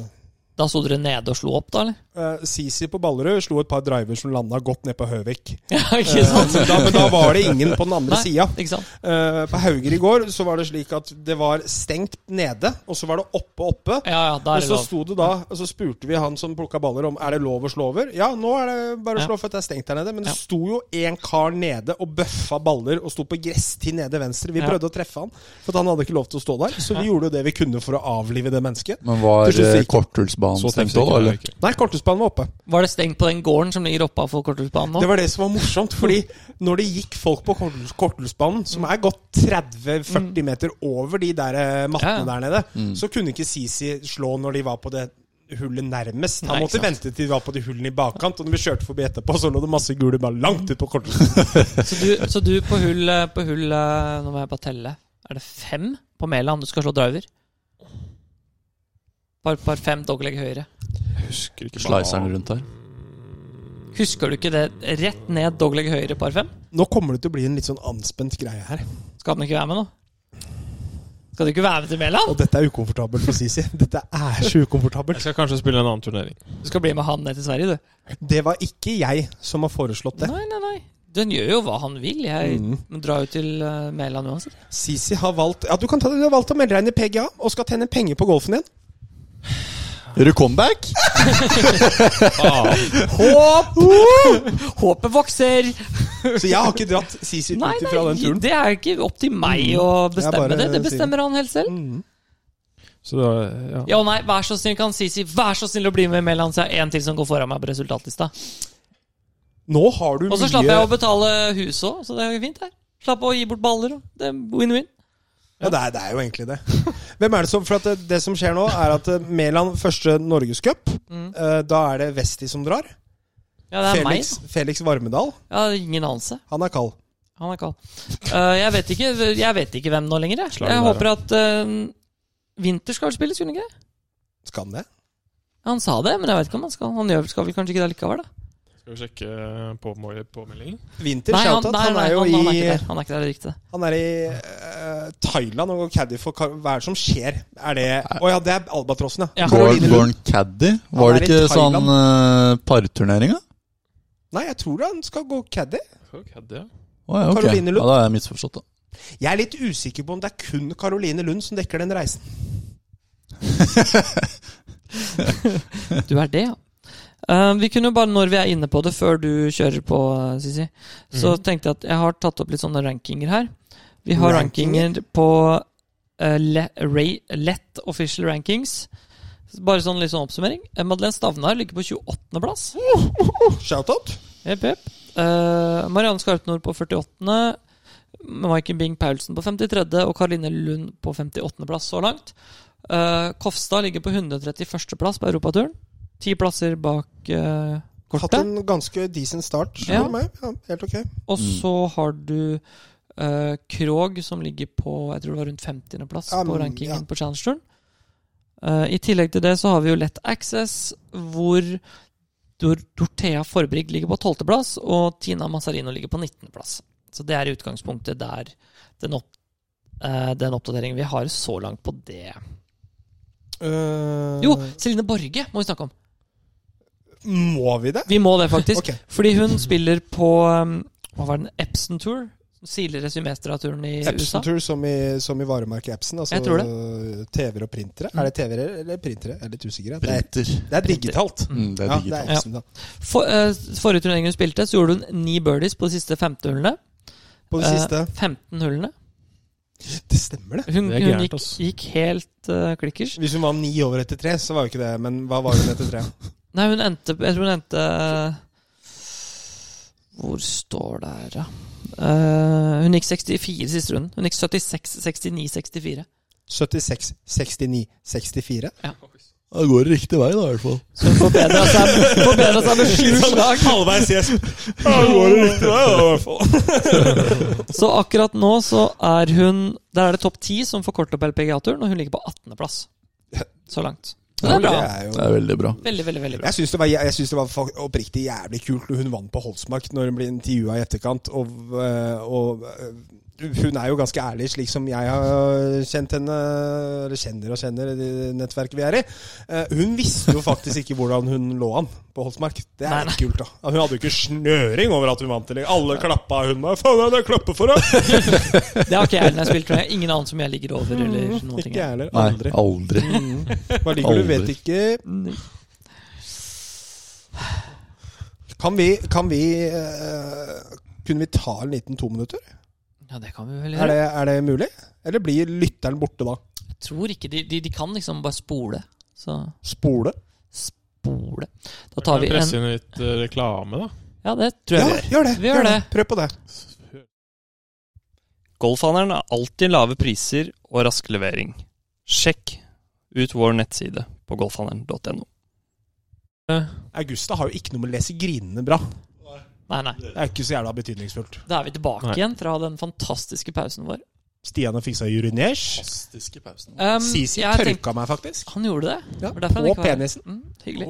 Da sto dere nede og slo opp, da, eller?
eh, Sisi på Ballerud slo et par driver som landa godt ned på Høvik.
Ja, ikke sant?
Eh, da, men da var det ingen på den andre
Nei.
sida.
Ikke sant?
Eh, på Hauger i går så var det slik at det var stengt nede, og så var det oppe oppe.
Ja, ja,
Og
da er det
så
lov.
sto det da, og så spurte vi han som plukka baller om er det lov å slå over. Ja, nå er det bare å
Ja.
slå for at det er stengt der nede. Men det
Ja.
sto jo en kar nede og bøffa baller og sto på gresstid nede venstre. Vi
Ja.
prøvde å treffe han, for at han hadde ikke lov til å stå der. Så vi gjorde jo det vi kunne for å avlive det mennesket.
Men var
Til slutt så
eh,
gikk-
korthullsbanen
Så
stengt
tøft sånn
òg,
ikke
eller?
det.
Nei, korthusbanen var oppe.
Var det stengt på den gården som ligger oppe for korthusbanen nå?
Det var det som var morsomt, fordi når det gikk folk på Korthus- Korthusbanen, som er gått 30-40 meter over de der eh, mattene
Mm. Ja, Mm.
der nede, så kunne ikke Sisi slå når de var på det hullet nærmest. Han
Nei,
måtte
ikke sant.
vente til de var på de hullene i bakkant, og når vi kjørte forbi etterpå, så lå det masse gule bare langt ut på Korthusbanen.
Så du, så du på hull, eh, på hull eh, Nå må jeg bare telle. Er det fem på Mæland du skal slå driver? Par, par fem dogleg høyre.
Jeg husker ikke
Sliceren rundt her.
Husker du ikke det? Rett ned dogleg høyre, par fem?
Nå kommer det til å bli en litt sånn anspent greie her,
Skal den ikke være med nå? Skal du ikke være med til
og
Mæland?
dette er ukomfortabelt for Sisi. Dette er så
Jeg
ukomfortabelt.
skal kanskje spille en annen turnering.
Du skal bli med han ned til Sverige, du.
Det var ikke jeg som har foreslått det.
Nei, nei, nei. Den gjør jo hva han vil. Jeg drar jo til eh, Mæland uansett.
Sisi har valgt Ja, du, kan ta, det. du har valgt å melde deg inn i PGA og skal tjene penger på golfen igjen.
Gjør du comeback?
Håp! Håpet vokser!
Så jeg har ikke dratt Sisi ut
Nei,
ifra den
nei,
turen. Mm.
det er ikke opp til meg å bestemme
bare
det. Det
sier- Mm.
bestemmer han helt selv.
Så det var, ja.
Ja, nei, vær så snill, kan Sisi Vær så snill å bli med Mæland, så jeg har en til som går foran meg på resultatlista.
Nå har du
Og så slapp jeg å betale huset òg, så det er jo fint, her. Slapp å gi bort baller. og Det er Win-win.
Ja, det er, det er jo egentlig det. Hvem er det som For at eh, det, det som skjer nå, er at eh, Mæland første Norgescup.
Mm.
eh, Da er det Vesti som drar.
Ja, det er
Felix, Felix Varmedal.
meg. Jeg har ingen anelse.
Han er kald.
Han er kald. Eh, jeg, vet ikke, jeg vet ikke hvem nå lenger. Jeg,
Slagen
jeg
der,
håper at eh, Winter skal spille, skulle han ikke det?
Skal han det?
Han sa det, men jeg vet ikke om han skal. Han gjør, skal vel kanskje ikke det likevel, da.
Skal vi sjekke eh, påmål- påmeldingen?
Winter, shoutout.
nei,
Han,
nei,
er jo
han, han er
i
ikke der. Han er ikke der, det er riktig.
Han er i eh, Thailand og går caddy for Kar- Hva er det som skjer? Er det Å ja, det er albatrossen, ja.
Ja.
Går
Caroline Lund.
går han caddy? Var
er
det
i
ikke sånn
Thailand.
uh, parturnering, da?
Nei, jeg tror han skal gå caddy.
Skal vi kødde, ja.
Å, ja, ok.
Caroline Lund.
Ja, da er jeg misforstått, da.
Jeg er litt usikker på om det er kun Caroline Lund som dekker den reisen.
Du er det, ja. Eh, vi kunne jo bare, når vi er inne på det, før du kjører på, eh, Sisi, så tenkte jeg at jeg har tatt opp litt sånne rankinger her. Vi har rankinger, på eh, le, Ray, Lett Official Rankings. Bare sånn litt sånn oppsummering. Eh, Madeleine Stavnar ligger på 28.-plass.
Shoutout.
Jepp, jepp. Eh, Marianne Skarpnord på 48. Maiken Bing Paulsen på 53. og Karoline Lund på 58.-plass så langt. Eh, Kofstad ligger på 131.-plass på europaturen. Ti plasser bak eh,
Hatt
kortet.
en ganske decent start.
Ja.
Ja. Ja, helt ok.
Og så har du eh, Krog, som ligger på jeg tror det var rundt 50.-plass
Ja,
på
men,
rankingen
ja.
på Challenge-turen. Eh, I tillegg til det så har vi jo Lett Access, hvor Dor Dorthea Forbrig ligger på 12.-plass, og Tina Mazzarino ligger på 19.-plass. Så det er i utgangspunktet der den, opp, eh, den oppdateringen vi har så langt på det.
Eh,
Jo, Celine Borge må vi snakke om.
Må vi det?
Vi må det, faktisk.
Ok.
Fordi hun spiller på um, hva var den, Epson Tour. Tidligere Symestra-turen i USA.
Epson-tur som, i- som i varemerket Epson. Altså
Jeg tror det.
øh, TV-er og printere. Er det TV-er eller printere? Jeg er litt usikker. jeg. Det er,
Printer.
det er digitalt.
Mm, det er
Ja, det
digitalt.
er Epson, da.
For, eh, forrige turnering hun spilte, så gjorde hun ni birdies på de siste 15 hullene.
På det
Eh,
siste
15 hullene.
Det stemmer, det.
Hun,
Det er
hun
gærent, altså.
gikk,
ass.
gikk helt eh, klikkers.
Hvis hun var ni over etter tre, så var jo ikke det. Men hva var hun etter tre?
Nei, hun endte Jeg tror hun endte Hvor står det her, da? Eh, hun gikk 64 siste runden. Hun gikk 76, 69, 64.
76, 69, 64.
Det går riktig vei, da, i hvert fall.
Så hun forbedra seg, forbedret seg med sju slag.
Halvveis yes.
Så akkurat nå så er hun Der er det topp 10 som får kort opp LPGA-turen, og hun ligger på 18.-plass så langt. Så det er bra.
Det er veldig bra.
Veldig, veldig, veldig bra.
Jeg syns det var, jeg synes det var fak- oppriktig jævlig kult når hun vant på Holsmark, når hun ble intervjua i etterkant. Og, øh, og øh, hun er jo ganske ærlig, slik som jeg har kjent henne, eller kjenner og kjenner, i det nettverket vi er i. Eh, Hun visste jo faktisk ikke hvordan hun lå an på Holsmark. Det
Nei,
er
nei.
litt kult, da. Altså, Hun hadde jo ikke snøring over at hun vant. Eller. Alle klappa hun med. 'Faen, er det jeg klapper for henne?'
Det har ikke jeg når jeg spiller turné. Ingen annen som jeg ligger over eller noen ting.
Mm, Ikke jeg heller.
Nei,
Aldri.
aldri.
Hva ligger du?
Aldri.
Vet ikke. Kan vi, kan vi eh, Kunne vi ta en liten to minutter?
Ja, det kan vi vel
Er,
gjøre.
det, er det mulig? Eller blir lytteren borte da?
Jeg tror ikke de, de, de kan liksom bare spole. Så
Spole?
spole. Da
Kan
tar
vi
vi en
presse inn litt eh, reklame, da?
Ja, det tror jeg vi gjør.
gjør det.
Vi gjør det.
Prøv på det.
Golfhandelen har alltid lave priser og rask levering. Sjekk ut vår nettside på golfhandelen.no.
Augusta har jo ikke noe med å lese grinene bra.
Nei, nei.
Det er ikke så jævla betydningsfullt.
Da er vi tilbake
Nei.
igjen fra den fantastiske pausen vår.
Stian har fiksa uriners.
Fantastiske pausen.
Um,
Sisi
jeg tenkte-
tørka meg faktisk.
Han gjorde det?
Ja,
Det var derfor
på
han ikke var her.
penisen. Oh.
Mm, hyggelig.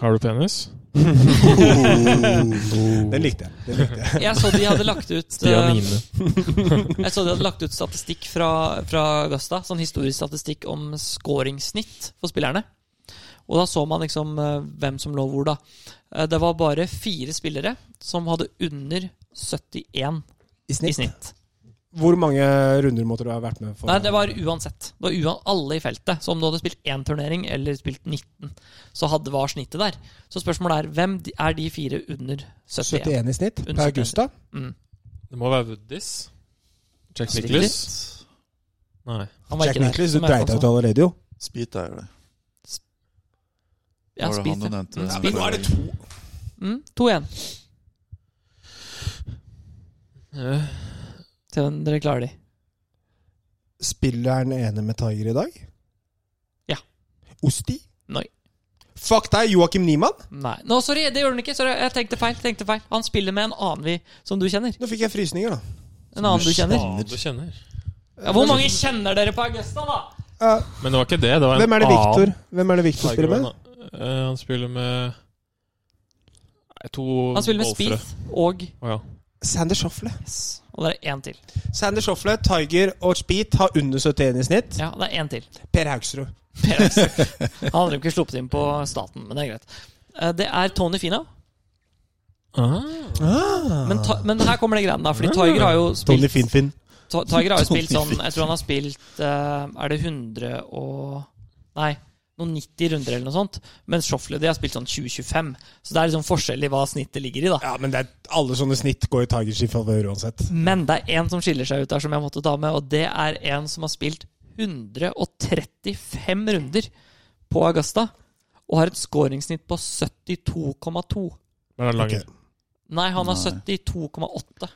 Har du penis?
Den likte jeg. Den likte jeg.
Jeg så de hadde lagt ut eh,
Dianine.
Jeg så de hadde lagt ut statistikk fra, fra Augusta, sånn historisk statistikk om scoringssnitt for spillerne. Og da så man liksom eh, hvem som lå hvor, da. Eh, Det var bare fire spillere som hadde under 71
I
i
snitt.
snitt.
Hvor mange runder måtte du ha vært med for?
Nei, det var uansett. Det var uan alle i feltet. Så om du hadde spilt én turnering eller spilt 19, så hadde, var snittet der. Så spørsmålet er hvem de- er de fire under 71?
71 i snitt på
Under
Augusta?
Mm.
Det må være Woodies. Jack Nicholas. Nei.
Han var
Jack
ikke der,
Nicholas, du
som sånn. jeg
dreit deg ut
også.
allerede, jo.
Spit er det.
Ja,
Var det han
spis
du
det.
nevnte?
Spit.
Nå er det to.
Mm, 2-1.
Eh,
Se om dere klarer de.
Spiller den ene med Tiger i dag?
Ja.
Osti?
Nei.
Fuck deg, Joakim Niemann!
Nei. Nå, sorry, det gjør han ikke. Sorry, jeg tenkte feil. tenkte feil Han spiller med en annen vi som du kjenner.
Nå fikk jeg frysninger, da.
En annen du kjenner
Faen, du kjenner.
ja, Hvor mange kjenner dere på Augusta, da?
Eh,
Men det var ikke det. det var en
hvem er det Victor
annen
Hvem er det Victor spiller med?
Tigerman, da. Eh, han spiller med Nei, to
Han spiller med
golfere.
Spieth og
Å, ja.
Sander Shoffle.
yes. Og det er én til.
Sander Shoffle, Tiger og Speed har under 71 i snitt.
Ja, det er én til.
Per Haugsrud.
Per Aksel. Han hadde jo ikke sluppet inn på staten, men det er greit. Eh, Det er Tony Fina. Men, ta, men her kommer det greiene, da. Fordi Tiger har jo
Tony
spilt
Finfin.
Ta- Tiger har jo
Tony
spilt sånn Jeg tror han har spilt eh, Er det 100 og Nei, noen 90 runder eller noe sånt. Mens Shoffley de har spilt sånn 20-25. Så det er liksom forskjell i hva snittet ligger i, da.
Ja, men det er, alle sånne snitt går i Tigers i favør uansett.
Men det er én som skiller seg ut der, som jeg måtte ta med, og det er en som har spilt 135 runder på Augusta og har et skåringssnitt på 72,2.
Men det er Langer.
Ok.
Nei, han har
Nei.
72,8.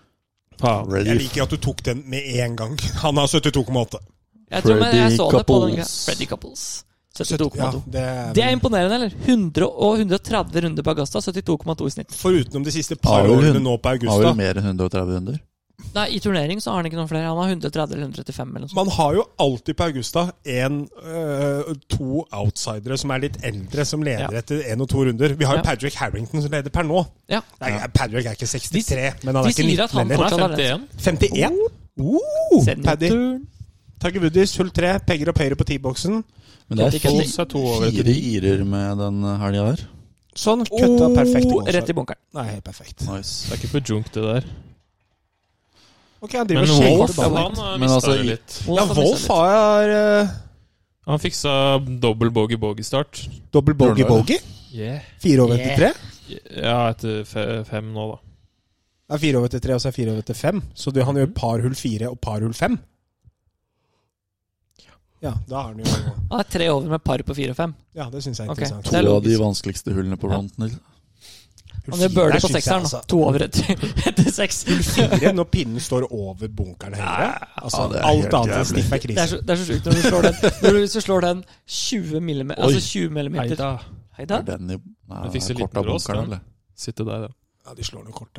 Faen.
Ready
Jeg liker at du tok den med en gang. Han har 72,8.
Jeg tror men jeg
Freddie
så det på den
Couples.
Freddy Couples.
Ja,
72,2.
det
Det er imponerende, eller? 100 og 130 runder på Augusta, 72,2 i snitt.
Forutenom de siste par
Har vel
årene
hun-
nå på
Har vel
Augusta.
mer enn 130 runder?
Nei, I turnering så har han ikke noen flere. Han har 130 eller 135 eller noe sånt.
Man har jo alltid på Augusta en, øh, to outsidere som er litt eldre, som leder
Ja.
etter én og to runder. Vi har jo
Ja.
Patrick Harrington som leder per nå.
Ja.
Nei, Patrick er ikke 63, men han
de
er ikke
sier at
19
han
heller.
fortsatt-
Han er
51?
51.
Oh, Paddy.
Seniorturn.
Tiger Woods, hull 3, pegger og pøyre på T-boksen.
Men det er
Ikke
fire
Holdt seg to over etter
fire irer med den helga der.
Sånn. Kutta perfekt. i
Oh,
mål, så-
rett i bunkeren.
Nei, helt perfekt.
Nice.
Det er ikke på junk, det der.
Ok, han driver
Men
og
Wolf
shaker
han
ballen.
har
Men
mistet
altså,
det
i-
litt.
Ja, Wolf har
eh,
øh,
Han fiksa dobbel bogey-bogey-start.
dobbel bogey-bogey. Fire over til
Yeah.
tre.
Ja, etter fe- fem nå, da.
Det er fire over til tre, og så er fire over til fem. Så du, han gjør par hull fire og par hull fem. Ja, da har han jo
Han er tre over med par på fire og fem.
Ja, det syns jeg er
Ok.
interessant.
To
Det er
av
logisk.
de vanskeligste hullene på liksom.
Ja.
ronten.
Hull
Han gjør
fire,
birdie
der
på
syns jeg,
sekseren. da.
altså.
To over etter, etter seks. Det
Fire når pinnen står over bunkeren høyre. Altså,
ja, det er helt
alt annet enn
jævlig.
sniff er
er
krise.
så, det er så sjukt når du slår den Når du så slår den 20 millimeter Altså 20
Nei
millimeter
da.
Hei da.
Er den i Nei,
Jeg fikk så
den er kort
liten
av
rås,
bunkeren,
den.
eller?
Sitte der, ja.
Ja, de slår noe kort.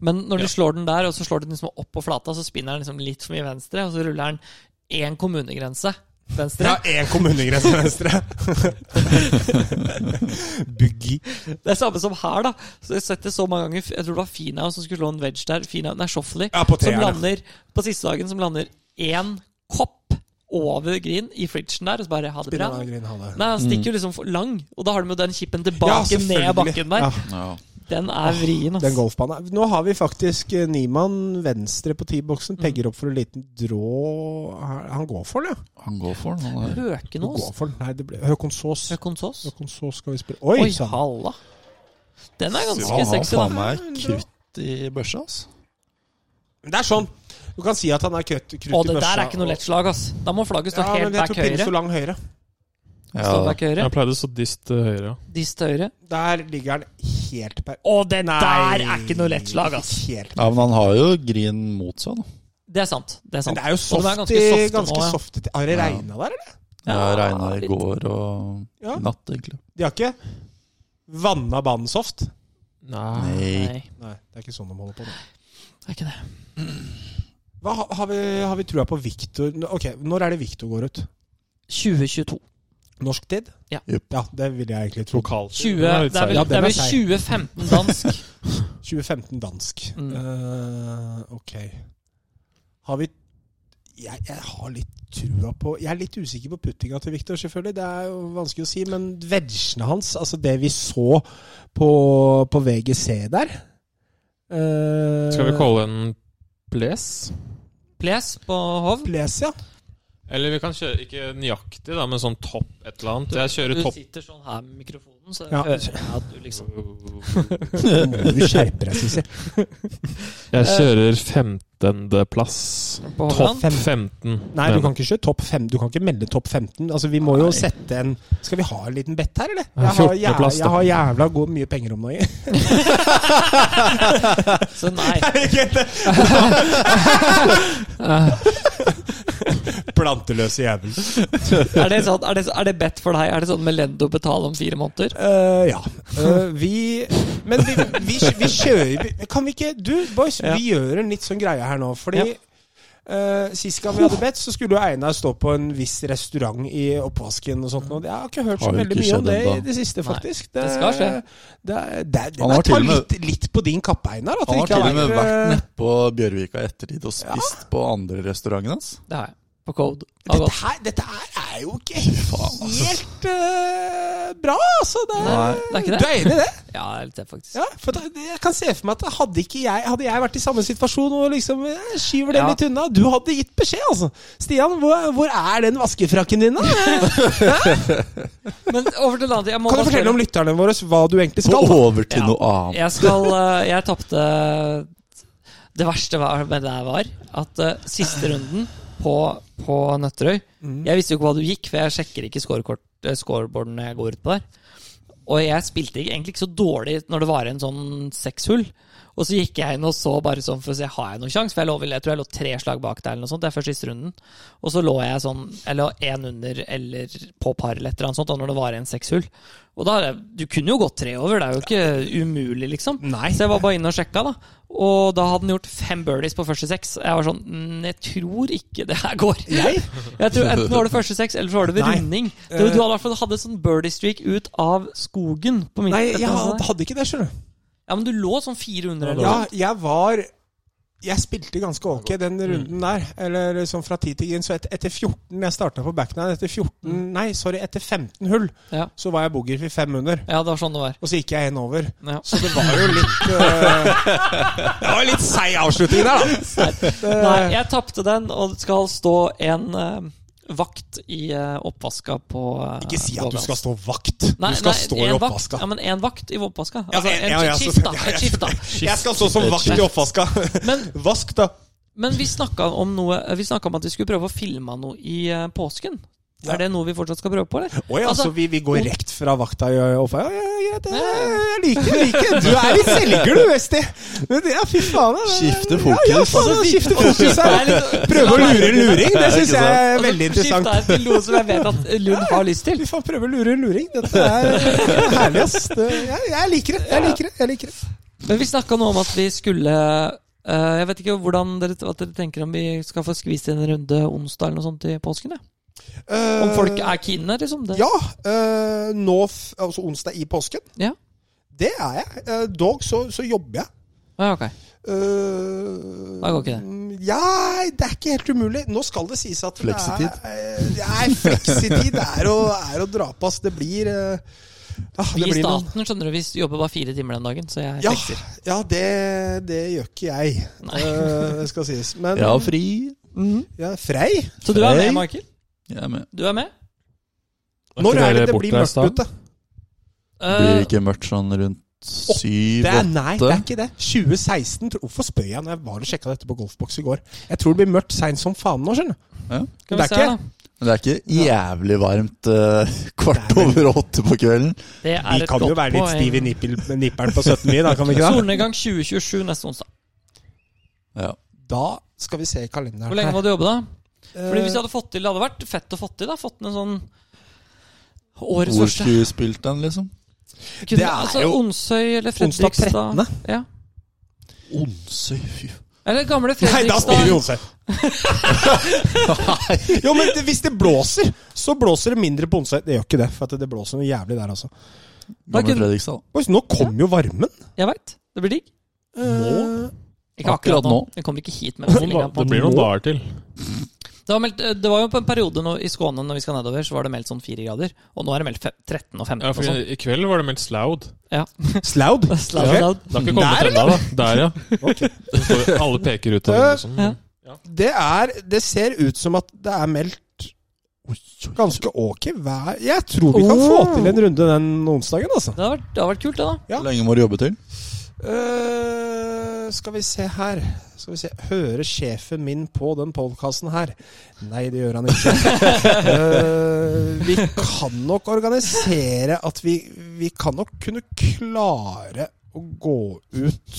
Men når
Ja.
du slår den der, og så slår du den liksom opp på flata, så spinner den liksom litt for mye venstre, og så ruller den én kommunegrense venstre.
Ja, én kommunegrense venstre. Boogie.
Det er samme som her, da. Så jeg har sett det så mange ganger. Jeg tror det var Finau som skulle slå en wedge der. Finau, nei, Shoffley.
Ja, på
som
treeren, ja.
lander på siste dagen som lander én kopp over green i fridgen der, og så bare ha det bra.
Spinner av green, ha det.
Nei, han stikker jo liksom for lang, og da har de jo den chipen tilbake ned
selvfølgelig.
bakken der.
Ja.
Ja.
Den er vrien,
Den
ass.
golfbanen er- Nå har vi faktisk eh, Niemann venstre på
Mm.
T-boksen. Pegger opp for en liten drå Han han går for den, ja.
Han går for den. Han er.
Du
Høkenås.
går for den. Nei, det ble Høkonsås.
Høkonsås.
Høkonsås skal vi spille
Oi,
Oi, sånn. sa han.
halla. Den er
Han
ganske
har
sexy, da.
faen meg krutt i børsa, altså.
Men Det er sånn. Du kan si at han er krutt, krutt
Og
i
det
børsa.
der er ikke noe lett slag, ass. Da må flagget stå
Ja, men
helt
jeg
back
tror pinnen
høyre.
står lang høyre.
Ja,
Stå back høyre.
Jeg pleide å stå dist til høyre. ja.
Dist til høyre.
Der ligger han helt per...
Og den der
Nei.
er ikke noe lett slag, ass.
Helt.
Ja, men han har jo green mot seg, da.
Det er sant. Det er
Men
sant.
det er jo
Og
soft
den er ganske
i
soft nå,
ganske
ja.
soft i Har det
Ja.
regna der, eller?
Det
Ja,
regna i
litt.
går og
Ja.
i natt, egentlig.
De har ikke vanna banen soft?
Nei.
Nei.
Nei,
Nei, det er ikke sånn de holder på med.
det er ikke det.
Hva, ha- har, vi, har vi trua på Victor Ok, Når er det Victor går ut?
2022.
Norsk tid?
Ja.
Jupp.
ja det vil jeg egentlig tro.
Lokalt.
20,
Den er litt
det er vel,
seig.
Ja,
det
den
er
er
vel
seig.
2015 dansk.
2015 dansk.
Mm.
Eh, ok. Har vi jeg, jeg har litt trua på Jeg er litt usikker på puttinga til Victor, selvfølgelig. Det er jo vanskelig å si. Men vegene hans, altså det vi så på, på VGC der eh,
Skal vi calle en place?
Ples på Hov.
Les, ja.
Eller vi kan kjøre ikke nøyaktig, da, men sånn topp et eller annet.
Du
Jeg kjører topp
sitter sånn her med mikrofonen, så
Ja.
hører jeg at du liksom
Må du skjerpe deg, Sissel.
Jeg kjører femtendeplass.
På
Topp
Hovland.
15.
Nei, du kan ikke kjøre topp fem. Du kan ikke melde topp 15. Altså, vi må jo sette en Skal vi ha en liten bet her, eller? Jeg har, jævla,
14.-plass, da.
jeg har jævla god mye penger om dagen.
Så nei.
Jeg vet ikke. Planteløse jævel.
Er det, sånn, er, det, er det bedt for deg? Er det sånn Melendo betale om fire måneder?
Eh, ja. Eh, vi Men vi, vi, vi kjører vi- Kan vi ikke Du, boys,
Ja.
vi gjør en litt sånn greie her nå. Fordi eh, sist gang vi hadde bedt, så skulle jo Einar stå på en viss restaurant i oppvasken og sånt. Og jeg har ikke hørt så
Har jo
veldig
ikke
mye om
skjedd
det i
ennå.
det siste,
Nei,
faktisk.
det skal skje.
Det, er- det, er- det,
Han har
ta
til og med-
litt, litt på din kappe, Einar. At
Han
det
har
ikke
til og med
er,
vært
eh,
nede på Bjørvika i ettertid og spist på andre restauranten hans.
Det har jeg. På Code. Det har
Dette
gått.
her, dette her er jo ikke helt eh, bra, altså. Det er,
Nei, det er
Du
ikke det.
er enig i det?
Ja, jeg er litt det, faktisk.
Ja, for da, jeg kan se for meg at hadde ikke jeg Hadde jeg vært i samme situasjon og liksom eh, skyver det
Ja.
litt unna Du hadde gitt beskjed, altså. Stian, hvor, hvor er den vaskefrakken din, da?
Men over til en annen ting. Jeg må
Kan du
bare
fortelle
spørre-
om lytterne våre hva du egentlig
Så
skal? da?
over til
Ja.
noe annet.
Jeg skal eh, Jeg tapte Det verste var, med det her var at eh, siste runden på, på Nøtterøy Jeg visste jo ikke hva du gikk, for jeg sjekker ikke scorekort, eh, scoreboarden når jeg går ut på der. Og jeg spilte ikke- egentlig ikke så dårlig når det var en sånn seks hull. Og så gikk jeg inn og så bare sånn for å se har jeg noen sjanse. For jeg, lå, vel- jeg tror jeg lå tre slag bak der, eller noe sånt. Det er først siste runden. Og så lå jeg sånn, eller én under eller på par eller et eller annet sånt, da når det var en seks hull. Og da, er det- Du kunne jo gått tre over, det er jo ikke umulig, liksom.
Nei.
Så jeg var bare inne og sjekka, da. Og da hadde han gjort fem birdies på første seks. Jeg var sånn mm, Jeg tror ikke det her går. Jeg? tror Enten var det første seks, eller så var det ved
Nei. Eh.
runding. Det var, du hadde i hvert fall hadde sånn birdie streak ut av skogen. På mitt,
Nei, jeg hadde, hadde ikke det, skjønner du.
Ja, men du lå sånn 400 eller
Ja,
noe.
jeg var Jeg spilte ganske ok den
Mm.
runden der. Eller sånn fra 10 til green. Så et, etter 14 Jeg starta på backnine. Etter 14 Nei, sorry, etter 15 hull
Mm. Ja.
så var jeg booger for fem under.
Ja, det var sånn det var.
Og så gikk jeg en over.
Ja.
Så det var jo litt øh, eh, Det var litt seig avslutning der, da.
Nei,
Eh.
jeg tapte den, og det skal stå en eh, vakt i eh, oppvaska på eh,
Ikke si at du
Vågans.
skal stå vakt.
Nei,
du skal
nei,
stå
en
i
vakt.
oppvaska.
Ja, men én vakt i oppvaska.
Ja,
Altså,
en-
en,
ja, ja,
skift, da.
selvfølgelig.
Et skift, da.
Jeg skal stå som vakt i oppvaska.
Men,
Vask, da.
men vi snakka om noe Vi snakket om at vi skulle prøve å filme noe i eh, påsken.
Ja.
Er det noe vi fortsatt skal prøve på, eller?
Oi, altså,
Altså,
vi, vi går rekt fra vakta i oppvaska. Ja, ja, greit,
Ja,
ja,
ja.
jeg liker det. liker det. Du er litt selger, du, Westi. Men det- Ja, fy faen. ja, det-
Skifte
Ja, ja,
fokus.
faen, ja, skifte fokus
Altså, Det er
her.
litt-
Prøve å lure en luring, det syns jeg
Ikke sant?
er
Altså,
veldig interessant.
skifta jeg til noe som jeg vet at Lund har lyst til.
Vi får prøve å lure en luring. Dette er herlig, ass. Det, jeg, jeg liker det. Jeg liker det. Jeg liker det.
Men vi snakka nå om at vi skulle eh, Jeg vet ikke hvordan dere, at dere tenker om vi skal få skvist inn en runde onsdag eller noe sånt i påsken? Ja. Om folk er keene, liksom? Det.
Ja. eh, nå, f altså onsdag i påsken.
Ja.
Det er jeg. Eh, dog så, så jobber jeg.
Ja, ok.
Eh,
Da går ikke det.
mm, Ja, det er ikke helt umulig. Nå skal det sies at
Fleksitid?
Det er, eh, nei, fleksitid er å, er å dra på, ass. Det blir eh, ah,
Vi
det
i
blir noen-
staten skjønner du, vi jobber bare fire timer den dagen, så jeg
Ja,
fikser.
ja det, det gjør ikke jeg,
Nei.
eh, skal sies. Men Mhm.
Ja, fri.
ja, Frei?
Så du er
Hei.
med, Michael?
Jeg er med.
Du er med?
Når er det det
borte
blir
her i
mørkt
stad?
ute?
Det blir
Eh,
ikke mørkt sånn rundt syv
Det er, nei, det er
åtte.
ikke det. 2016 tror- Hvorfor spør jeg når jeg var og sjekka dette på Golfbox i går? Jeg tror det blir mørkt seint som faen nå, skjønner du. det
skal vi
er
se,
ikke-
da.
Men det er ikke jævlig varmt eh, kvart
Nei,
over åtte på kvelden.
Det er
Vi
et
kan jo
godt
være litt
poeng.
stive i nippel, med nipperen på 17 mil, da kan vi ikke det?
Solnedgang 2027 neste onsdag.
Ja.
Da skal vi se i kalenderen.
Hvor lenge må du jobbe, da?
her.
Fordi hvis jeg hadde fått til, det hadde vært fett å få til. da Fått ned sånn årets
Hvor
største.
skulle vi spilt den, liksom?
Kunne,
er
altså,
jo
Onsøy eller
onsdag
Fredrikstad.
13.
Ja.
Onsøy, fy
Eller gamle
Eh, Nei,
Fredrikstad.
da spiller vi Onsøy. jo, men det, hvis det blåser, så blåser det mindre på Onsøy. Det gjør ikke det, for at det blåser noe jævlig der, altså.
Gamle
kunne-
Fredrikstad.
Boys, nå kom jo varmen.
Jeg veit. Det blir digg.
Nå?
Ikke akkurat,
Akkurat
nå.
nå.
Vi kommer ikke hit med
Noen
bestillinga.
da- Det blir noen dager til.
Det, var meldt, eh, det var jo på en periode nå, i Skåne når vi skal nedover, så var det meldt sånn fire grader. Og nå er det meldt fe- 13 og 15
Ja,
og
for
sånn.
I kveld var det meldt Sloud.
Slaud.
Slapp
Ok.
av.
Det har ikke kommet
Der,
ennå, da. Der, ja. Så står- Alle peker ut av vinduet sånn.
Ja.
Det er Det ser ut som at det er meldt ganske ok vær. Jeg tror vi kan få til en runde den onsdagen, altså.
Det har vært, det har vært kult, det, da.
Ja.
Hvor lenge må du jobbe til?
Eh, skal vi se her Skal vi se Hører sjefen min på den podkasten her? Nei, det gjør han ikke. Eh, vi kan nok organisere at vi Vi kan nok kunne klare å gå ut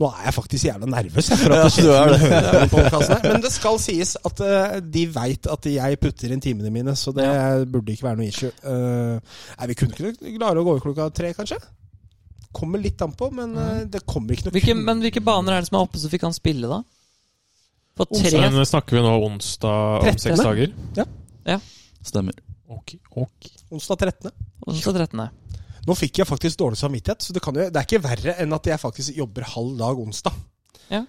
Nå er jeg faktisk jævla nervøs jeg, for at
Ja,
det skjer
du er
noe
det.
høyere på denne podcasten her. Men det skal sies at eh, de veit at jeg putter inn timene mine, så det burde ikke være noe issue. Eh, nei, vi kunne ikke klare å gå over klokka tre, kanskje? Kommer litt an på, men eh, det kommer ikke noe
Hvilke,
kun-
men hvilke baner er det som er oppe, så vi kan spille, da? På tre
Men eh, snakker vi nå onsdag om seks
Trettende.
dager?
Stemmer.
Ok, ok.
Onsdag 13.
onsdag 13.
Nå fikk jeg faktisk dårlig samvittighet, så det, kan jo, det er ikke verre enn at jeg faktisk jobber halv dag onsdag.
Ja.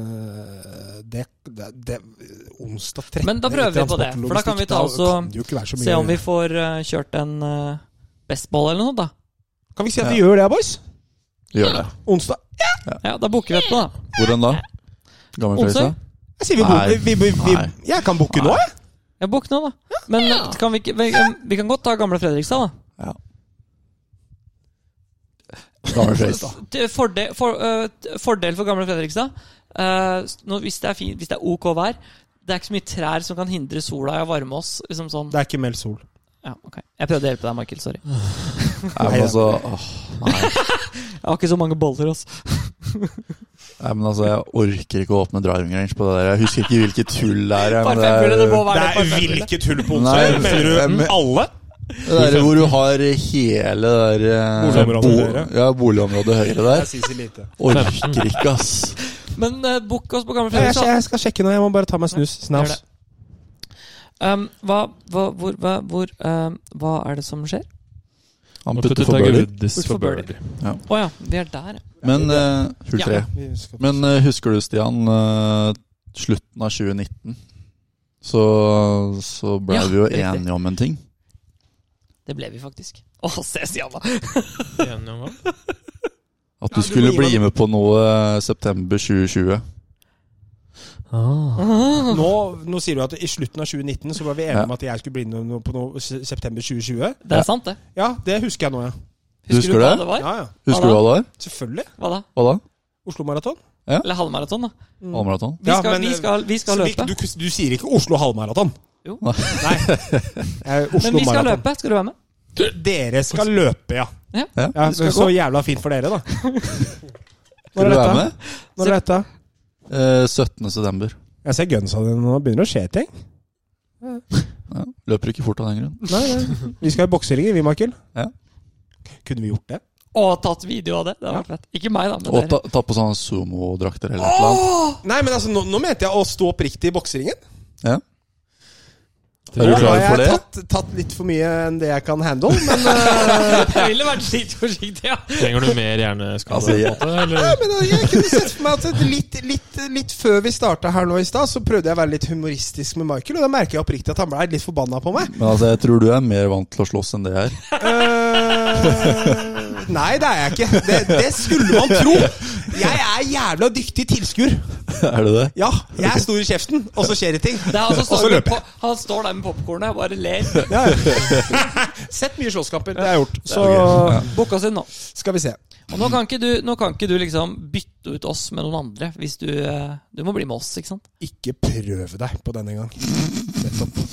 Eh, det, det, det Onsdag 13.
Men da prøver vi på det, for da kan vi ta også-
kan det jo ikke være så mye-
Se om vi får eh, kjørt en eh, bestball eller noe, da.
Kan vi si at vi gjør det, boys?
Gjør det.
Onsdag?
Ja, Da booker vi etterpå, da.
Hvordan da? Gammelfjøsa?
Onsdag?
Jeg sier vi,
Nei.
booker- vi, vi, vi,
Nei.
Jeg kan booke nå, jeg.
Ja, book nå, da. Men eh, kan vi, ikke, vi, vi kan godt ta gamle Fredrikstad, da.
Gammelfjøsa.
Til Fordel for, eh, t- fordel for gamle Fredrikstad eh, s- nå, hvis, det er fint, hvis det er ok vær Det er ikke så mye trær som kan hindre sola i å varme oss. Liksom sånn.
Det er ikke meldt sol.
ja, ok. Jeg prøvde å hjelpe deg, Michael. Sorry.
Nei, men altså åh, Nei.
Jeg har ikke så mange boller, altså.
Nei, men altså, jeg orker ikke å åpne driving range på det der. Jeg husker ikke hvilket hull det er. jeg,
Par
Men det er
femhjulet, det må
Det
være det.
er
par femhjulet.
hvilket hull på
Nei,
onsdag? Mener
jeg
du
men-
alle?
det der hvor du har hele det der eh,
Boligområdet høyre.
Ja, boligområdet høyre der.
sier så lite.
Orker ikke, ass.
Men uh, book oss på gamle
Jeg,
Fredrikstad.
jeg skal sjekke nå. Jeg må bare ta meg snus. Snaps.
Gjør Um, hva, hva, hvor, hva, hvor, um, hva er det som skjer?
Han
Nå putter
putter for birdie.
Gudes for birdie.
Å ja, vi er der. ja.
Men eh, hull
Ja.
tre.
Vi skal-
Men eh, husker du, Stian, eh, slutten av 2019 så, så ble
Ja,
vi jo
riktig.
enige om en ting.
Det ble vi faktisk. Å, se Stian, da!
Enig om hva?
Ja,
At du
du
skulle
må gi
bli
meg-
med på noe eh, september 2020.
Nå, nå sier du at i slutten av 2019 så var vi enige om at jeg skulle bli med noe på noe se- september 2020.
Det er sant, det.
Ja, det husker jeg nå, ja.
du
Husker du
hva
det?
det var?
ja, ja.
Husker du hva det var?
Selvfølgelig.
Hva da?
Hva da?
Oslo Maraton.
Eller halvmaraton, da.
Halvmaraton?
Vi
Ja,
skal,
men,
vi skal, vi skal
Så vi-
løpe.
Du, du sier ikke Oslo halvmaraton?
Jo.
Nei. Eh, Oslo
Men vi skal
Maraton.
løpe. Skal du være med?
Dere skal løpe, ja.
Ja.
ja
Du skal
så
gå.
jævla fint for dere, da. Når
Skal
er
du være
dette?
med?
Når er dette?
Eh, 17. september.
Jeg ser gunsa dine nå. Begynner å skje ting.
Ja. Løper ikke fort av den grunn.
Nei, nei. Vi skal i bokseringer, vi, Michael.
Ja.
Kunne vi gjort det?
Og tatt video av det. Det hadde vært fett. Ikke meg, da,
Og
men
ta,
dere.
ta på sånne sumo-drakter eller et eller annet.
Nei, men altså, nå, nå mente jeg å stå oppriktig i bokseringen.
Er
Nå
du
har
klar
jeg
for det?
tatt, tatt litt for mye enn det jeg kan handle, men,
Jeg ville vært litt forsiktig, ja.
Trenger du mer hjerneskade?
Altså, jeg-
på en måte, eller?
men jeg kunne sett for meg at litt, litt, litt før vi starta her nå i stad, så prøvde jeg å være litt humoristisk med Michael, og da merker jeg oppriktig at han blei litt forbanna på meg.
Men altså, jeg tror du er mer vant til å slåss enn det jeg er.
Eh, nei, det er jeg ikke. Det, det skulle man tro. Jeg er jævla dyktig tilskuer.
er det det?
Ja, jeg er stor i kjeften, og så skjer det ting.
Det er han,
Og
som
så
står med,
løper jeg.
po- han står der med popkornet og bare ler.
Sett mye slåsskamper. Det har jeg gjort. Så
Book oss inn nå.
skal vi se.
Og nå kan, ikke du, nå kan ikke du liksom bytte ut oss med noen andre. Hvis du, eh, du må bli med oss, ikke sant?
Ikke prøv deg på denne gang. Nettopp.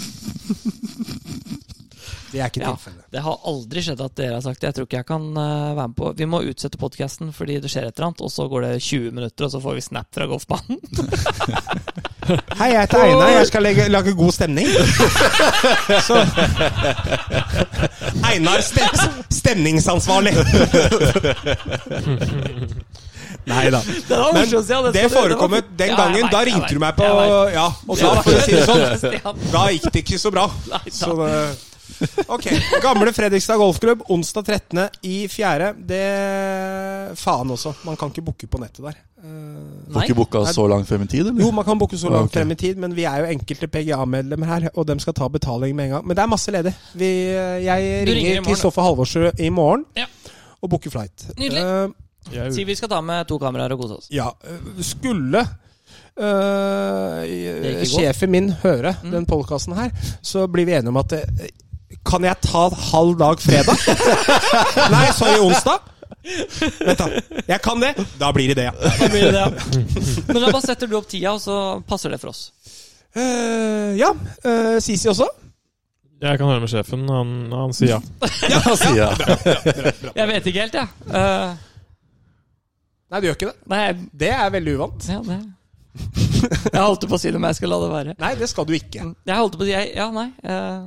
Det er ikke
Ja.
tilfellet.
Det har aldri skjedd at dere har sagt det. Jeg tror ikke jeg kan eh, være med på Vi må utsette podkasten fordi det skjer et eller annet, og så går det 20 minutter, og så får vi snap fra golfbanen.
Hei, jeg heter Einar. Jeg skal legge, lage god stemning. Så. Einar stem, stemningsansvarlig. Nei da.
Det var
Men
morsomt, Stian. Det
det
skal du-
forekom
var-
den
Ja, jeg
gangen.
vet,
Da
jeg
ringte du
vet,
meg på
jeg vet.
Ja, og da,
Ja,
for å si det sånn,
Stian.
da gikk det ikke så bra.
Nei, da.
Så det Ok. Gamle Fredrikstad Golfklubb, onsdag 13. i 4. Det Faen også. Man kan ikke booke på nettet der. Eh,
Får ikke booka så langt frem i tid,
jo,
eller?
man kan booke så langt
Ah, ok.
frem i tid, men vi er jo enkelte PGA-medlemmer her, og dem skal ta betaling med en gang. Men det er masse ledig. Vi, eh, jeg
Du ringer i
ringer
morgen,
Kristoffer Halvorsrud i morgen
Ja.
og booker flight.
Nydelig.
Eh,
Jeg er
Si vi skal ta med to kameraer og kose oss.
ja. eh, Skulle eh,
Det gikk Mm. i går.
sjefen min høre den podkasten her, så blir vi enige om at eh, Kan jeg ta halv dag fredag? Nei, sorry, onsdag. Vent, da. Jeg kan det. Da blir det det, ja.
Da blir det det, ja. Men da bare setter du opp tida, og så passer det for oss.
Eh, ja. eh, Sisi også.
Jeg kan høre med sjefen. Han, han sier ja.
Ja, sier jeg.
Jeg vet ikke helt, jeg. Ja.
Nei, det gjør ikke det.
Eh, Nei, jeg-
Det er veldig uvant.
ja, det Jeg holdt på å si det, men jeg skal la det være.
Nei, det skal du ikke.
Jeg holdt på å si jeg, Ja, nei. eh,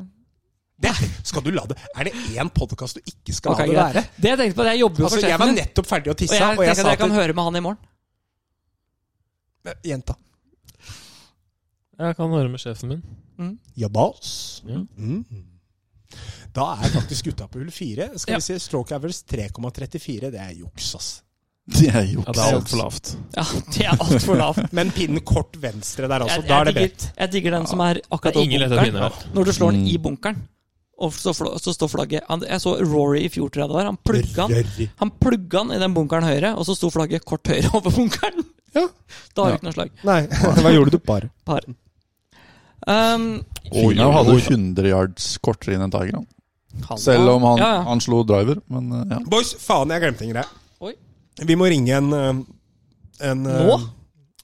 Det skal du la det Er det én podkast du ikke skal
ok,
la det
greit.
være?
Det jeg tenkte på, det er jeg jobber jo
Altså,
for
jeg var
sjefen min.
nettopp ferdig å
Og
tisse,
jeg
og jeg
tenker
sa Eh,
at jeg kan
til
høre med han i morgen.
jenta
Jeg kan høre med sjefen min.
Jabbas.
Ja.
Mm. Da er faktisk gutta på hull fire. Skal
Ja.
vi si stroke average 3,34. Det er juks, ass.
Det er juks.
Ja, det er altfor lavt.
Ja, det er altfor lavt.
Men pinnen kort venstre der, altså.
Jeg,
Da er
jeg,
det bredt.
digger, jeg digger den som er
Det
akkurat
er
over
ingen lette
bunkeren.
pinner her.
Når du slår den
Mm.
i bunkeren, og så, fl- så står flagget han, Jeg så Rory i fjor, tror jeg det var. Han plugga den.
Rørri.
Han plugga den i den bunkeren høyre, og så sto flagget kort høyre over bunkeren.
Ja.
Da har du ikke noe slag.
Nei, hva gjorde du bare?
Par. Um,
Finau hadde jo 100 yards kortere inn enn Tiger. Han. Selv om han,
Ja, ja.
han slo driver, men eh, ja.
Boys, faen, jeg glemte en greie.
Oi.
Vi må ringe en, eh, en eh,
Nå?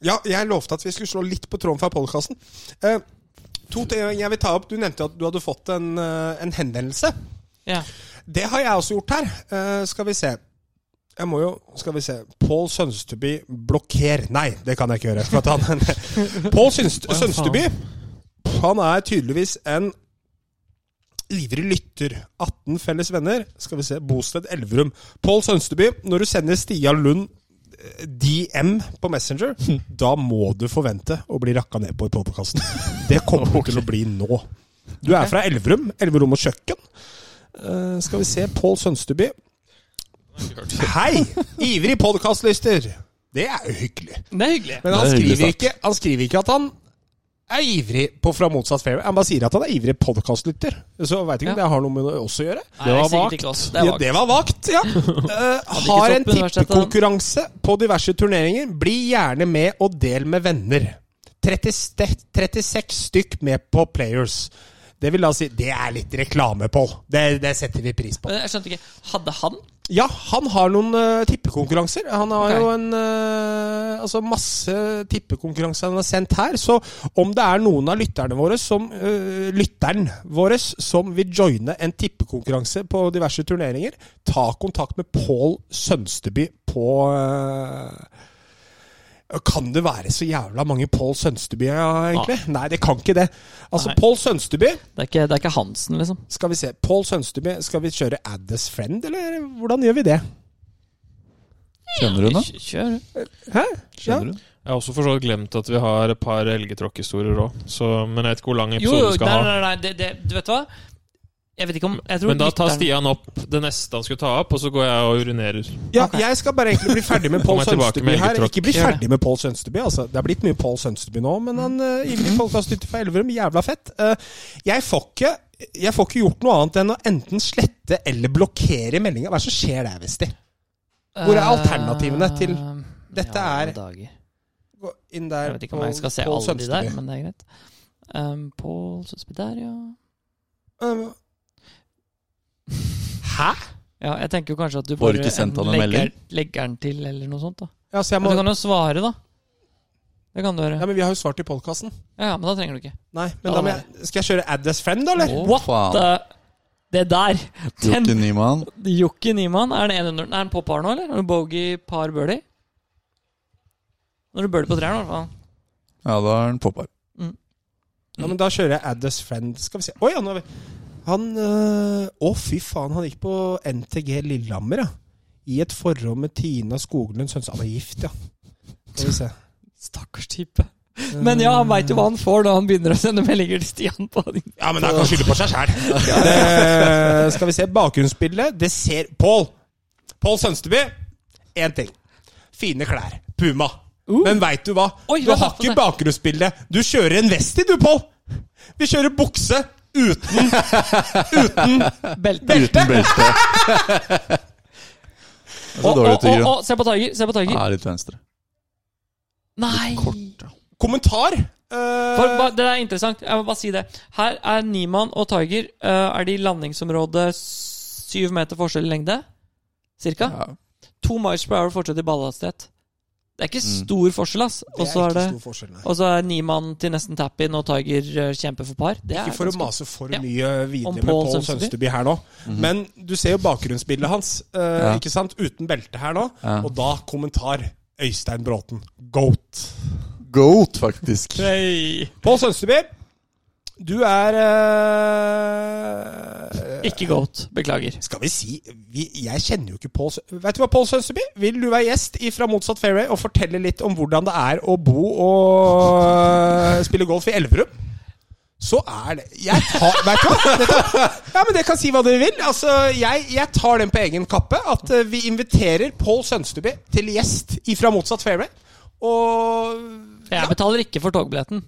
Ja, jeg lovte at vi skulle slå litt på tråden fra podkasten. to ting jeg vil ta opp. Du nevnte at du hadde fått en, eh, en henvendelse.
ja.
Det har jeg også gjort her. Eh, skal vi se. Jeg må jo Skal vi se. Pål Sønsteby blokker Nei, det kan jeg ikke gjøre. For at han Pål Sønst
faen.
Sønsteby Han er tydeligvis en ivrig lytter. 18 felles venner. Skal vi se. Bosted Elverum. Pål Sønsteby, når du sender Stia Lund eh, DM på Messenger, da må du forvente å bli rakka ned på i podkasten. Det kommer du til å bli nå. Du er fra Elverum. Elverum og kjøkken. Eh, skal vi se. Pål Sønsteby. Hei! Ivrig podkastlyster. Det er jo hyggelig.
Det er hyggelig.
Men han
Det er hyggelig
skriver,
start.
ikke, han skriver ikke at han er ivrig på fra motsatt fairway. Han bare sier at han er ivrig podkastlytter. Så veit ikke om
Ja.
det har noe med det også å gjøre.
Nei,
var
sikkert
vagt.
ikke oss. Det
Det,
er
ja,
vagt.
det var vagt, ja. Eh, har
ikke
en
stått på universitetet, da.
tippekonkurranse på diverse turneringer. Bli gjerne med og del med venner. 30 ste- 36 stykk med på Players. Det vil da si Det er litt reklame, Pål. Det, det setter vi pris på.
Men Jeg skjønte ikke. Hadde han?
Ja, han har noen eh, tippekonkurranser. Han har
Ok.
jo en eh, Altså masse tippekonkurranser han har sendt her. Så om det er noen av lytterne våre som eh, lytteren våres som vil joine en tippekonkurranse på diverse turneringer, ta kontakt med Pål Sønsteby på eh, kan det være så jævla mange Pål Sønsteby, ja, egentlig? Nei, det kan ikke det. Altså,
Ah. Nei.
Pål Sønsteby
Det er ikke, det er ikke Hansen, liksom.
Skal vi se. Pål Sønsteby, skal vi kjøre Add as friend, eller hvordan gjør vi det?
Kjenner hun det?
Kj- Kjør.
Kjenner hun?
Jeg har også for så vidt glemt at vi har et par helgetråkkhistorier òg, men jeg vet ikke hvor lang
Jo,
episode
jo,
vi skal
nei,
ha.
nei, nei, det, det, du vet hva? Jeg vet ikke om jeg tror
Men da tar
lytteren-
Stian opp det neste han skulle ta opp, og så går jeg og urinerer.
Ja,
Ok.
jeg skal bare egentlig bli ferdig med Pål
Kommer jeg tilbake
Sønsteby
med
her.
eget tråkk.
Ikke bli
Gjør det.
ferdig med Pål Sønsteby, altså. Det er blitt mye Pål Sønsteby nå, men han uh,
Mhm.
ivrig podkastlytter fra Elverum, jævla fett. Eh, jeg, får ikke, jeg får ikke gjort noe annet enn å enten slette eller blokkere meldinga. Hva er det som skjer der, Vesti? Hvor er alternativene til-
Eh,
Dette
ja,
er-
dager.
Gå inn der,
Jeg vet ikke om jeg skal se alle de der, men det er greit. Um, Pål Sønsby der, ja.
Eh, Hæ?
Ja, jeg tenker jo kanskje at du
Får
bare
ikke sendt han en
legger,
melding?
legger den til, eller noe sånt. da
Ja, så jeg
Men
må,
du kan jo svare, da. Det kan du gjøre.
ja, men vi har jo svart i podkasten.
Ja, ja, men da trenger du ikke.
Nei, men
Ja,
da må jeg Skal jeg kjøre Add as friend, da, eller?
Å,
What
faen.
the Det der!
Jokke
Den
Nyman.
Jokke Niemann. Er den 100 Er den på par nå, eller? Er det bogey, par, birdie? Når du birdie på treeren, i hvert fall.
Ja, da er han popper.
Ja, men da kjører jeg Add as friend. Skal vi se. Oi, ja, nå har vi Han øh, Å, fy faen, han gikk på NTG Lillehammer, ja. I et forhold med Tina Skoglund Sønstad. Han er gift, ja. Skal vi se.
Stakkars type. Men ja, han veit jo hva han får når han begynner å sende meldinger til Stian på din.
Ja, men han kan skylde på seg sjæl. Skal vi se. Bakgrunnsbildet. Det ser Pål! Pål Sønsteby. Én ting. Fine klær. Puma. Men veit du hva?
Uh. Oi,
du
vent,
har
vent,
ikke
vent.
bakgrunnsbilde. Du kjører en vest i, du, Pål! Vi kjører bukse uten, uten
Belte.
belte.
Uten belte. Det er så
Å,
dårlig Ah,
å,
til
å,
grunn.
å, se på Tiger! Se på Tiger.
Ja, litt venstre.
Nei!
Kommentar. eh,
For, ba- det er interessant. Jeg må bare si det. Her er Niemann og Tiger. eh, er de i landingsområdet syv meter forskjell i lengde? Cirka?
Ja.
To miles per hour fortsatt i ballhastighet. Det er ikke
Mm.
stor forskjell, ass. Og
Det er
så er
ikke
det
stor forskjell, nei.
og så er Niemann til nesten tap-in, og Tiger eh, kjemper for par. Det er
Ikke for å
ganske-
mase for
Ja.
mye videre
Om
med
Paul
Pål
Sønsteby. Mhm.
Sønsteby her nå, men du ser jo bakgrunnsbildet hans, eh,
Ja.
ikke sant? Uten belte her nå.
Ja.
Og da kommentar Øystein Bråten. Goat.
Goat, faktisk.
Pål Sønsteby, du er eh,
Ikke goat. Beklager.
Skal vi si vi, Jeg kjenner jo ikke Pål Sø- Vet du hva, Pål Sønsteby? Vil du være gjest fra Motsatt Fairway og fortelle litt om hvordan det er å bo og spille golf i Elverum? Så er det Jeg tar Vet du hva? Vet du hva? Ja, men dere kan si hva dere vil. Altså, jeg, jeg tar den på egen kappe. At eh, vi inviterer Pål Sønsteby til gjest fra Motsatt Fairway. Og
Jeg betaler ikke for togbilletten.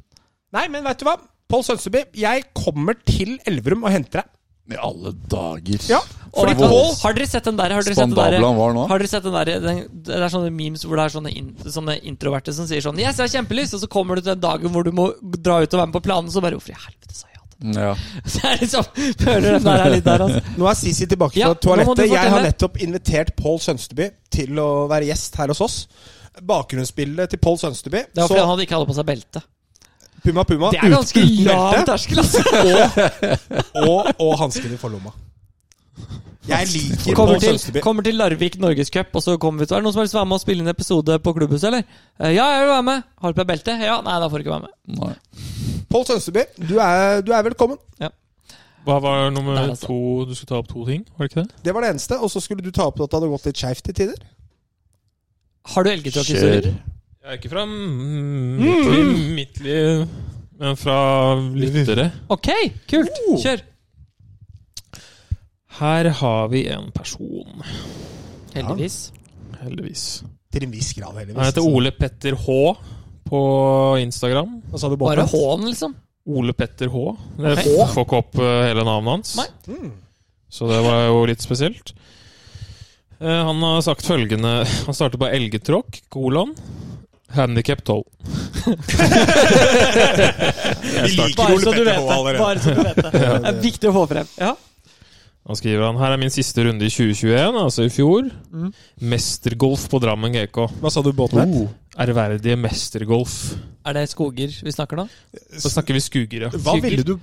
Nei, men vet du hva? Pål Sønsteby, jeg kommer til Elverum og henter deg.
I alle dager.
Ja,
Og
fordi
vet du hva?
Pål
har dere sett den der? Har dere sett den
Spandabel han
der?
var nå.
Har dere sett den der den, Det er sånne memes hvor det er sånne, in, sånne introverte som sier sånn Yes, jeg har kjempelyst, og så kommer du til den dagen hvor du må dra ut og være med på planen, så bare Hvorfor i helvete sa jeg ja til det?
Ja.
Så jeg liksom føler den der er litt der, altså.
Nå er Sisi tilbake fra
Ja, nå må du
toalettet.
fortelle.
Jeg har nettopp invitert Pål Sønsteby til å være gjest her hos oss. Bakgrunnsbildet til Pål Sønsteby
Det var
Så
fordi han hadde ikke hadde på seg belte.
Puma Puma
Det er ganske
uten
lav
belte,
terskel, altså.
og, og hansken i forlomma. Jeg liker
Kommer
Pål
til,
Sønsteby.
kommer til Larvik Norgescup, og så kommer vi til Er det noen som har lyst til å være med og spille inn en episode på klubbhuset, eller? Eh, Ja, jeg vil være med. Har du på deg belte? Ja, nei, da får du ikke være med.
Nei.
Pål Sønsteby, du er, du er velkommen.
Hva var nummer
Der, altså.
to? Du skulle ta opp to ting, var det ikke det?
Det var det eneste. Og så skulle du ta opp at det hadde gått litt skeivt til tider.
Har du elgetråkkhistorier?
Ja, ikke fra mm, mitt liv, mitt liv, men fra lyttere.
Ok, kult. Kjør.
Her har vi en person,
Heldigvis.
heldigvis.
Til en viss grad, heldigvis.
Han heter Ole Petter H på Instagram.
Hva sa du,
Bare
Bård?
H-en, liksom.
Ole Petter H. Det
Ok.
får ikke opp eh, hele navnet hans.
Nei.
Mm.
Så det var jo litt spesielt. Eh, Han har sagt følgende Han starter på elgetråkk, kolon. Handicap 12.
Vi liker
Bare så
Ole Petter
du vet
H
det.
allerede.
Bare så du vet det. Det er viktig å få frem. Ja.
Han skriver han Her er min siste runde i 2021, altså i fjor.
Mm.
Mestergolf på Drammen GK.
Hva sa du, båten het?
Ærverdige mestergolf.
Er det skoger vi snakker nå?
Så snakker vi skugere.
Hva ville du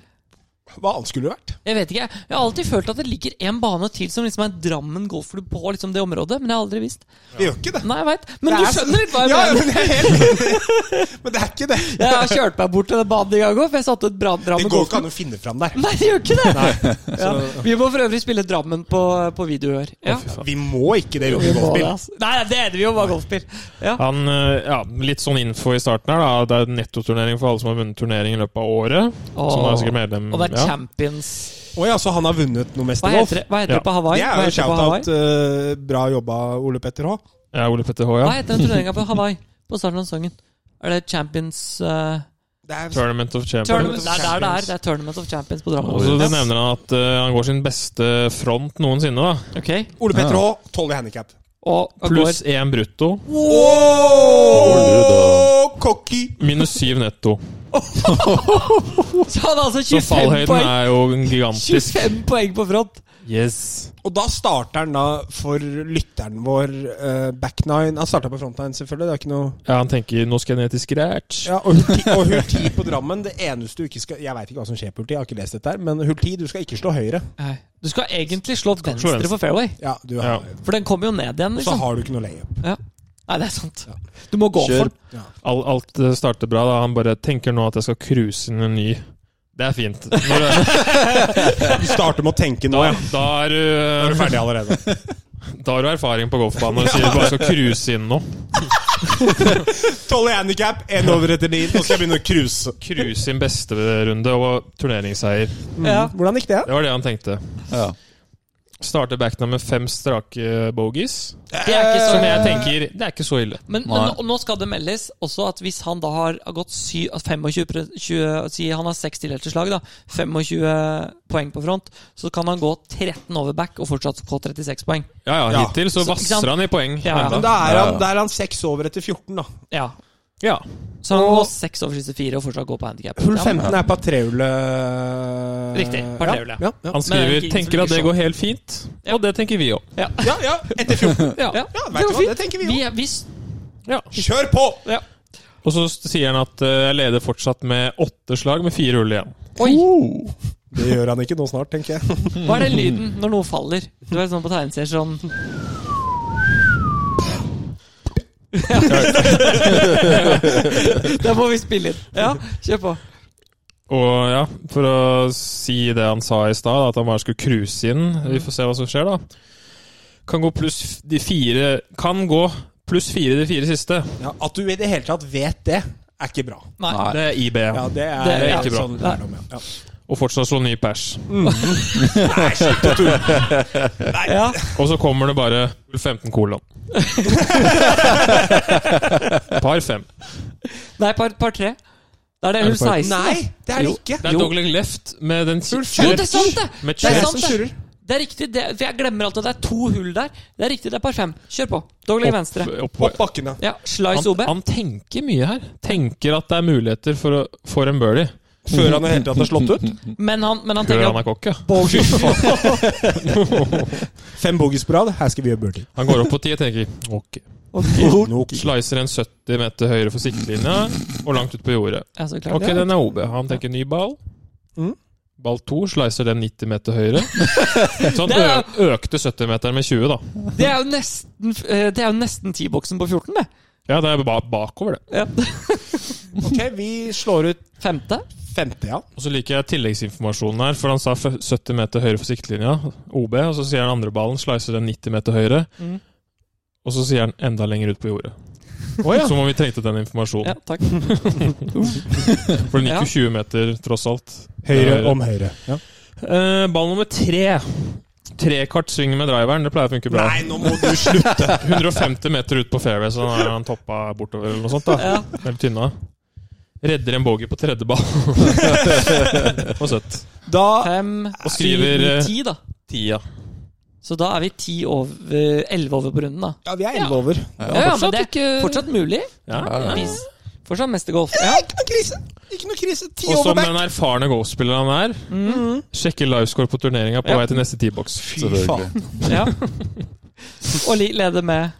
Hva annet skulle det vært?
Jeg vet ikke. Jeg har alltid følt at det ligger en bane til som liksom er Drammen golfklubb på liksom det området, men jeg har aldri visst.
Vi gjør ikke det.
Nei, jeg vet. Men
Det
du
er så-
skjønner litt hva jeg
Ja, ja,
mener.
men, jeg er helt enig. men det er ikke det.
Jeg har kjørt meg bort til den banen i gang òg, for jeg satte et bra
Det
Drammen
går ikke
golfklubb.
an å finne fram der.
Nei, det gjør ikke det! ja. Vi må for øvrig spille Drammen på, på video i år. Ja.
Vi må ikke det
Vi
Johnny
må det,
Golfbil.
altså. Nei, det er det vi jo bare golfbil. Ja.
Han, eh, ja, Litt sånn info i starten her. da Det er en nettoturnering for alle som har vunnet turnering i løpet av året. Som er sikkert medlem
Og det er
ja.
Champions
Å ja, så han har vunnet noe mest
Hva
i golf?
heter det, hva heter
Ja.
det på Hawaii?
Det
Hva
er jo
heter det på Hawaii?
shout-out. eh, bra jobba, Ole Petter H.
Ja, Ole Petter H,
Hva
ja.
heter den turneringa på Hawaii? På starten av sesongen? Er det Champions eh,
Det er
Tournament of Champions.
Tournament, det er der det er. Det er Tournament of Champions på Drammen.
Og så det nevner han at eh, han går sin beste front noensinne. da
Ok,
Ole Petter H, 12 i handikap.
og, og
Pluss
går
én brutto,
Oh, cocky!
minus syv netto.
Så han har altså
Så
25
fallhøyden
poeng,
er jo gigantisk.
25 poeng på front!
Yes
Og da starter han da for lytteren vår eh, back nine. Han starta på front nine, selvfølgelig. Det er ikke noe
Ja, Han tenker 'nå skal jeg ned til scratch'.
ja, Og hull ti- og hull 10 på Drammen. Det eneste du ikke skal Jeg veit ikke hva som skjer på hull 10, jeg har ikke lest dette her, men hull 10, du skal ikke slå høyre.
Nei. Du skal egentlig slå
slå
venstre
venstre.
på fairway,
Ja, du
Ja.
har,
for den kommer jo ned igjen.
Så
liksom
har du ikke noe layup.
Nei, det er sant. Du må gå
Kjør.
for den.
Al alt eh, starter bra. da Han bare tenker nå at jeg skal cruise inn en ny. Det er fint. Når du,
Du starter med å tenke nå,
da,
ja.
da, er,
Da er du
du,
ferdig allerede.
eh, da har du erfaring på golfbanen når du sier du bare skal cruise inn nå.
12 i handikap, én over etter din, og så skal jeg begynne å cruise.
Cruise inn beste runde og turneringsseier.
Mm.
Ja.
Hvordan gikk det?
Det var det han tenkte.
Ja.
Starter backna med fem strake eh, bogies.
Det er ikke så
Som jeg tenker Det er ikke så ille.
Men, men
Nei.
nå, nå skal det meldes også at hvis han da har har gått sy, at 25 pre- 20, Si han har seks tildelte slag, da. 25 poeng på front. Så kan han gå 13 over back og fortsatt få 36 poeng.
Ja, ja,
Ja.
Hittil så
Så- ikke sant?
vasser han i poeng.
Ja,
Men
enda.
da er
Ja,
han,
ja.
da er han 6 over etter 14, da.
Ja.
Ja.
Så han
Og-
går seks over siste fire og fortsatt går på handikap.
Hull 15 er på trehullet
Riktig, partrehullet.
Ja, ja,
Men
Han
det er
skriver
ikke
'tenker at
introduksjon.
det går helt fint', og det tenker vi òg.
ja, ja, etter 14.
Ja,
Ja,
det
vet du
var
hva,
fint.
det tenker vi
Vi,
jo.
vi s-
Ja.
Kjør på!
Og så sier han at eh, jeg leder fortsatt med åtte slag med fire hull igjen.
Oh. Det gjør han ikke nå snart, tenker jeg.
Hva er den lyden når noe faller? Du vet sånn på tegneserier sånn Da må vi spille inn. Ja, kjør på.
Og ja, for å si det han sa i stad, at han bare skulle cruise inn. Vi får se hva som skjer, da. Kan gå pluss f- de fire Kan gå pluss fire de fire siste.
Ja, at du i det hele tatt vet det, er ikke bra.
Nei.
Nei.
Det er IB.
Ja, det er,
Det er
ikke bra.
Sånn lærdom, ja.
Og fortsatt slå ny pers.
Ja.
Og så kommer det bare 15 kolon. Par fem.
Nei, par, par tre. Da er det
Er
hull
det par-
16. da.
Nei, det er det
Jo.
ikke.
Det er
Jo.
Douglas Left med den
Full
Jo, det er sant, det!
Med
Det er
chest.
sant, det. Det er riktig, det, for jeg glemmer alltid at det er to hull der. Det er riktig, det er par fem. Kjør på. Dogley
Opp-
venstre.
opp-
Opp bakken, da.
Ja, Slice
han,
OB.
han tenker mye her. Tenker at det er muligheter for, å, for en birdie.
Før han i det hele tatt er slått ut.
Men han, men han
Før
tenker
han er kokk, ja.
Fem bogies på rad. Her skal vi gjøre birdie.
Han går opp på ti og tenker ok.
Ok.
Slicer en 70 meter høyre for siktelinja og langt ut på jordet.
Ja, så klart.
Ok, den er OB. Han tenker ny ball.
Mm.
Ball to, slicer den 90 meter høyre. Så han
Det er-
ø økte 70-meteren med 20, da.
Det er jo nesten eh, Det er jo nesten T-boksen på 14, det.
Ja, det er ba bakover, det.
Ja.
Ok, vi slår ut
Femte.
femte, ja.
Og så liker jeg tilleggsinformasjonen her, for han sa f- 70 meter høyre for siktelinja, OB, og så sier han andre ballen, slicer den 90 meter høyre,
Mm.
og så sier han enda lenger ut på jordet. Som om vi trengte den informasjonen.
Ja, takk.
For den gikk
Ja.
jo 20 meter, tross alt.
Høyre
Høyre.
om høyre. Ja.
Eh, ball nummer tre. Trekart sving med driveren, det pleier å funke bra.
Nei, nå må du slutte!
150 meter ut på fairway, så da er han toppa bortover eller noe sånt. da.
Ja.
Eller tynna. Redder en bogey på tredje ball. og søtt.
Da
Fem,
Og
syv,
skriver,
ni,
eh,
ti, da.
Tia.
Så da er vi ti over eh, Elleve over på runden, da.
Ja, vi er
Ja.
elleve over.
Ja, ja, men det er fortsatt mulig.
Ja.
Vis. Fortsatt mestergolf. Ja.
Ikke noe krise! Ikke noe krise. Ti
Og
over
som
back.
den erfarne golfspiller han er, sjekker livescore på turneringa på
Mm. Ja.
vei til neste T-boks.
Selvfølgelig.
ja. Og Li leder med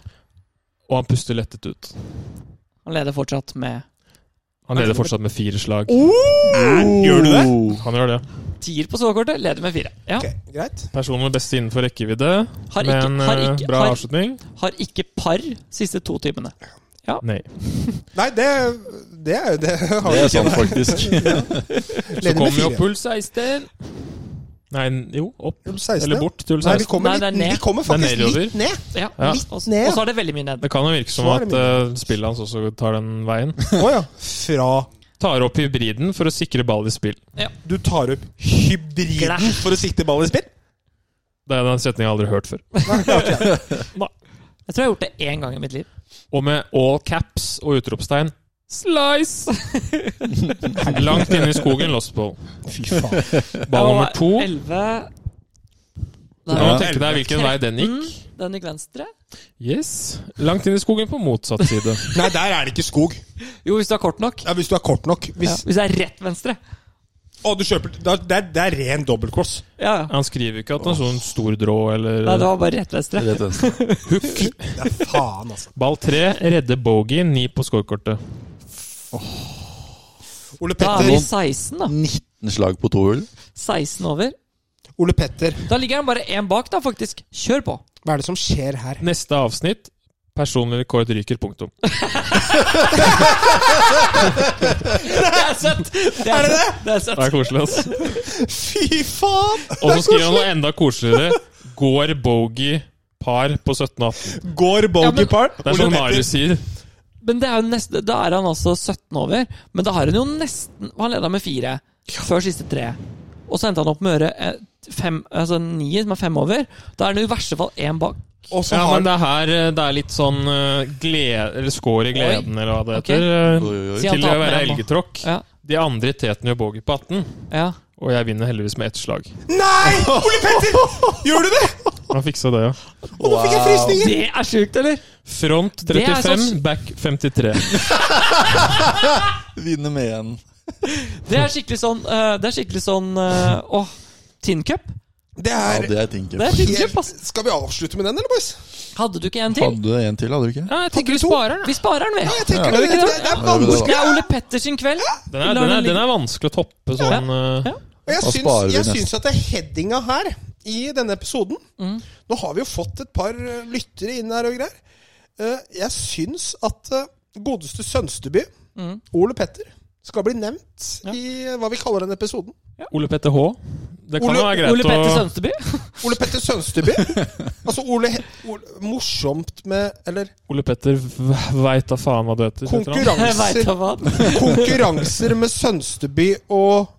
Og han puster lettet ut.
Han leder fortsatt med
Han leder fortsatt med fire slag.
Oh! Gjør du det?
Han gjør det.
tier på skårekortet. Leder med fire. Ja.
Ok, greit.
Personen med beste innenfor rekkevidde,
Har ikke,
men
har
eh,
ikke,
bra
har,
avslutning.
har ikke par siste to timene.
Nei.
Nei, det, det er jo det. Har
Det
vi
er
ikke
sant, faktisk.
Så
Leder med
kommer jo
fire.
pull 16. Nei, jo, opp.
16.
Eller bort til
Nei, vi
16.
kommer,
Nei, det er
litt,
ned.
vi kommer faktisk
Det er nedover.
litt ned.
Ja.
Ja.
Litt Og så
ned.
og så er det veldig mye ned.
Det kan jo virke
Så
som
er
at
det
eh, spillet hans også tar den veien.
Å ja. Fra
Tar opp hybriden for å sikre ball i spill.
du tar opp hybriden
Glass.
for å sikte ball i spill?
Det er en setning jeg aldri har hørt før.
Jeg tror jeg har gjort det én gang i mitt liv.
Og med all caps og utropstegn Slice! Langt inne i skogen, lost ball.
Fy faen.
Ball nummer to.
Elleve
Du
Der
kan jo
Ja.
tenke deg hvilken vei den gikk.
Mm, Den gikk venstre.
Yes. Langt inn i skogen på motsatt side.
Nei, der er det ikke skog.
Jo, hvis du er kort nok.
Ja, hvis du er kort nok.
Ja.
Hvis,
Hvis det er rett venstre.
Å, du kjøper da- Det er, det er ren dobbeltcross.
Ja, ja.
Han skriver jo ikke at det er sånn stor drå eller
Nei, det var bare rett venstre.
Rett venstre.
Det er faen, altså.
Ball tre, redde bogey, ni på scorekortet.
Ole
Da er vi
Petter,
16, da.
19 slag på to hull.
16 over.
Ole Petter,
Da ligger han bare én bak, da, faktisk. Kjør på.
hva er det som skjer her?
Neste avsnitt Personlig rekord ryker, punktum.
Det er søtt! Det er, det? Det er søtt.
Det er koselig, ass.
Fy faen!
Og så skriver han noe enda koseligere. Går bogey par på 17 og 18.
Går bogey part.
Det er
Ole
sånn Marius
Petter.
sier.
Men det er jo neste, da er han altså 17 over. Men da har han jo nesten Han leda med fire før siste tre. Og så endte han opp med å gjøre eh, fem, altså ni, som er fem over. Da er han i verste fall én bak.
Og så
Ja,
har
men det er her eh, det er litt sånn eh, glede, eller skår i gleden, eller hva det
Ok.
heter. eh,
Oi, oi, oi.
Sier han
Til å
taper
være
igjen nå.
elgetråkk.
Ja,
De andre i teten gjør bogey på 18,
ja.
og jeg vinner heldigvis med ett slag.
Nei! Ole Petter! Gjør du det?
Han fiksa det, ja.
Og nå fikk jeg frysninger!
Det er sjukt, eller?
Front
Det er
35,
sånn-
back 53.
Vinne med en.
Det er skikkelig sånn eh, Det er skikkelig sånn eh, Åh, Tin Cup.
Det
Ja,
er
det er tinker.
Det er tinkerchip, ass.
Skal vi avslutte med den, eller, boys?
Hadde du ikke en til?
Hadde du en til, hadde du ikke?
Ja, jeg tenker vi
to?
sparer den. Vi sparer den,
Ja,
vi.
jeg tenker
Ja.
det. Det, det, det er vanskelig.
Det er Ole Pettersen kveld.
Den er, den, er, den er vanskelig å toppe sånn eh,
Og jeg
Da sparer
syns,
vi
jeg
nesten.
syns at det er headinga her i denne episoden Nå har vi jo fått et par eh, lyttere inn her og greier. Eh, Jeg syns at eh, godeste Sønsteby,
Mm.
Ole Petter, skal bli nevnt i eh, hva vi kaller den episoden.
Ole Petter H. Det kan
Ole-
jo være greit
Ole Petter
å
Sønsteby.
Ole Petter Sønsteby. altså Ole, He- Ole Morsomt med Eller
Ole Petter v- veit da faen hva du heter. heter
Jeg
han?
veit
konkurranser,
da hva.
konkurranser med Sønsteby og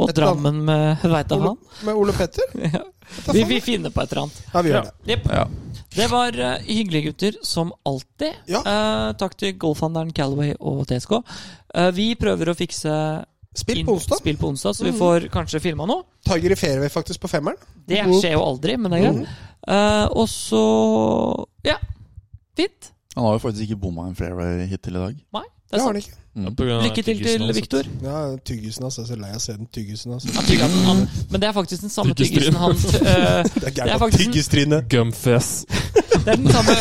Og Drammen med veit da
Ole,
han.
med Ole Petter.
Ja.
Hva
Vi,
faen?
vi finner på et eller annet.
Ja, vi
Ja.
gjør det.
Ja.
Det var eh, hyggelige gutter, som alltid.
Ja.
Eh, takk til golfhandleren Calaway og TSK. Eh, vi prøver å fikse
Spill
inn-
på onsdag. Mm.
spill på onsdag, så vi får kanskje filma noe.
Tiger i fairway, faktisk, på femmeren.
Det
Mhm.
skjer jo aldri, men det er greit. Eh, og så Ja, fint.
Han har jo faktisk ikke bomma en fairway hittil i dag.
Nei, det
Det
er
har
sant.
han ikke.
Mm.
På grunn av
Lykke til
tyggisen
til
han har satt.
Viktor.
Ja, tyggisen, altså. Jeg er så lei av å se den tyggisen, altså.
Han tygger den, han, men det er faktisk den samme tyggisen han eh,
Det er
Det
gærent
er
at
faktisk-
tyggistrinnet
Gumfess.
Det er den samme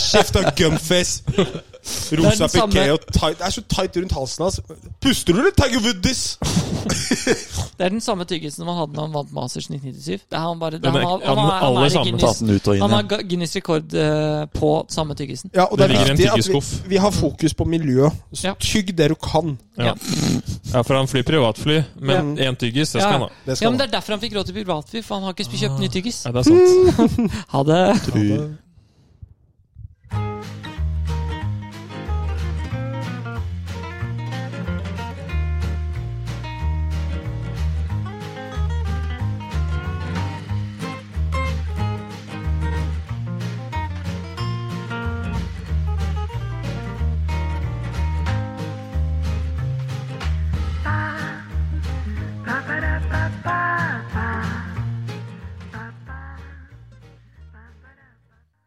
Skifta gumface.
Det er
Rosa
den samme-
piké og tight. Det er så tight rundt halsen hans. Puster du, eller, Tiger Woodies?
Det er den samme tyggisen man hadde når han vant Masters 1997. Det er han bare det,
Den
han,
er-
har-
han-
han, har- han,
alle
er i
sammen.
Tatt
Guinness,
den ut og inn
han
igjen.
har Guinness rekord eh, på samme tyggisen.
Ja, og det
Det
er
ligger en
viktig at vi,
tyggeskuff.
vi har fokus på miljø. Så
Ja.
tygg det du kan.
Ja, for han flyr privatfly, men én tyggis, det skal
Ja.
han ha.
Det skal
Ja, men
han
Det er derfor han fikk råd til privatfly, for han har ikke kjøpt ny tyggis.
Ja, det er sant.
Ha det.
Tror,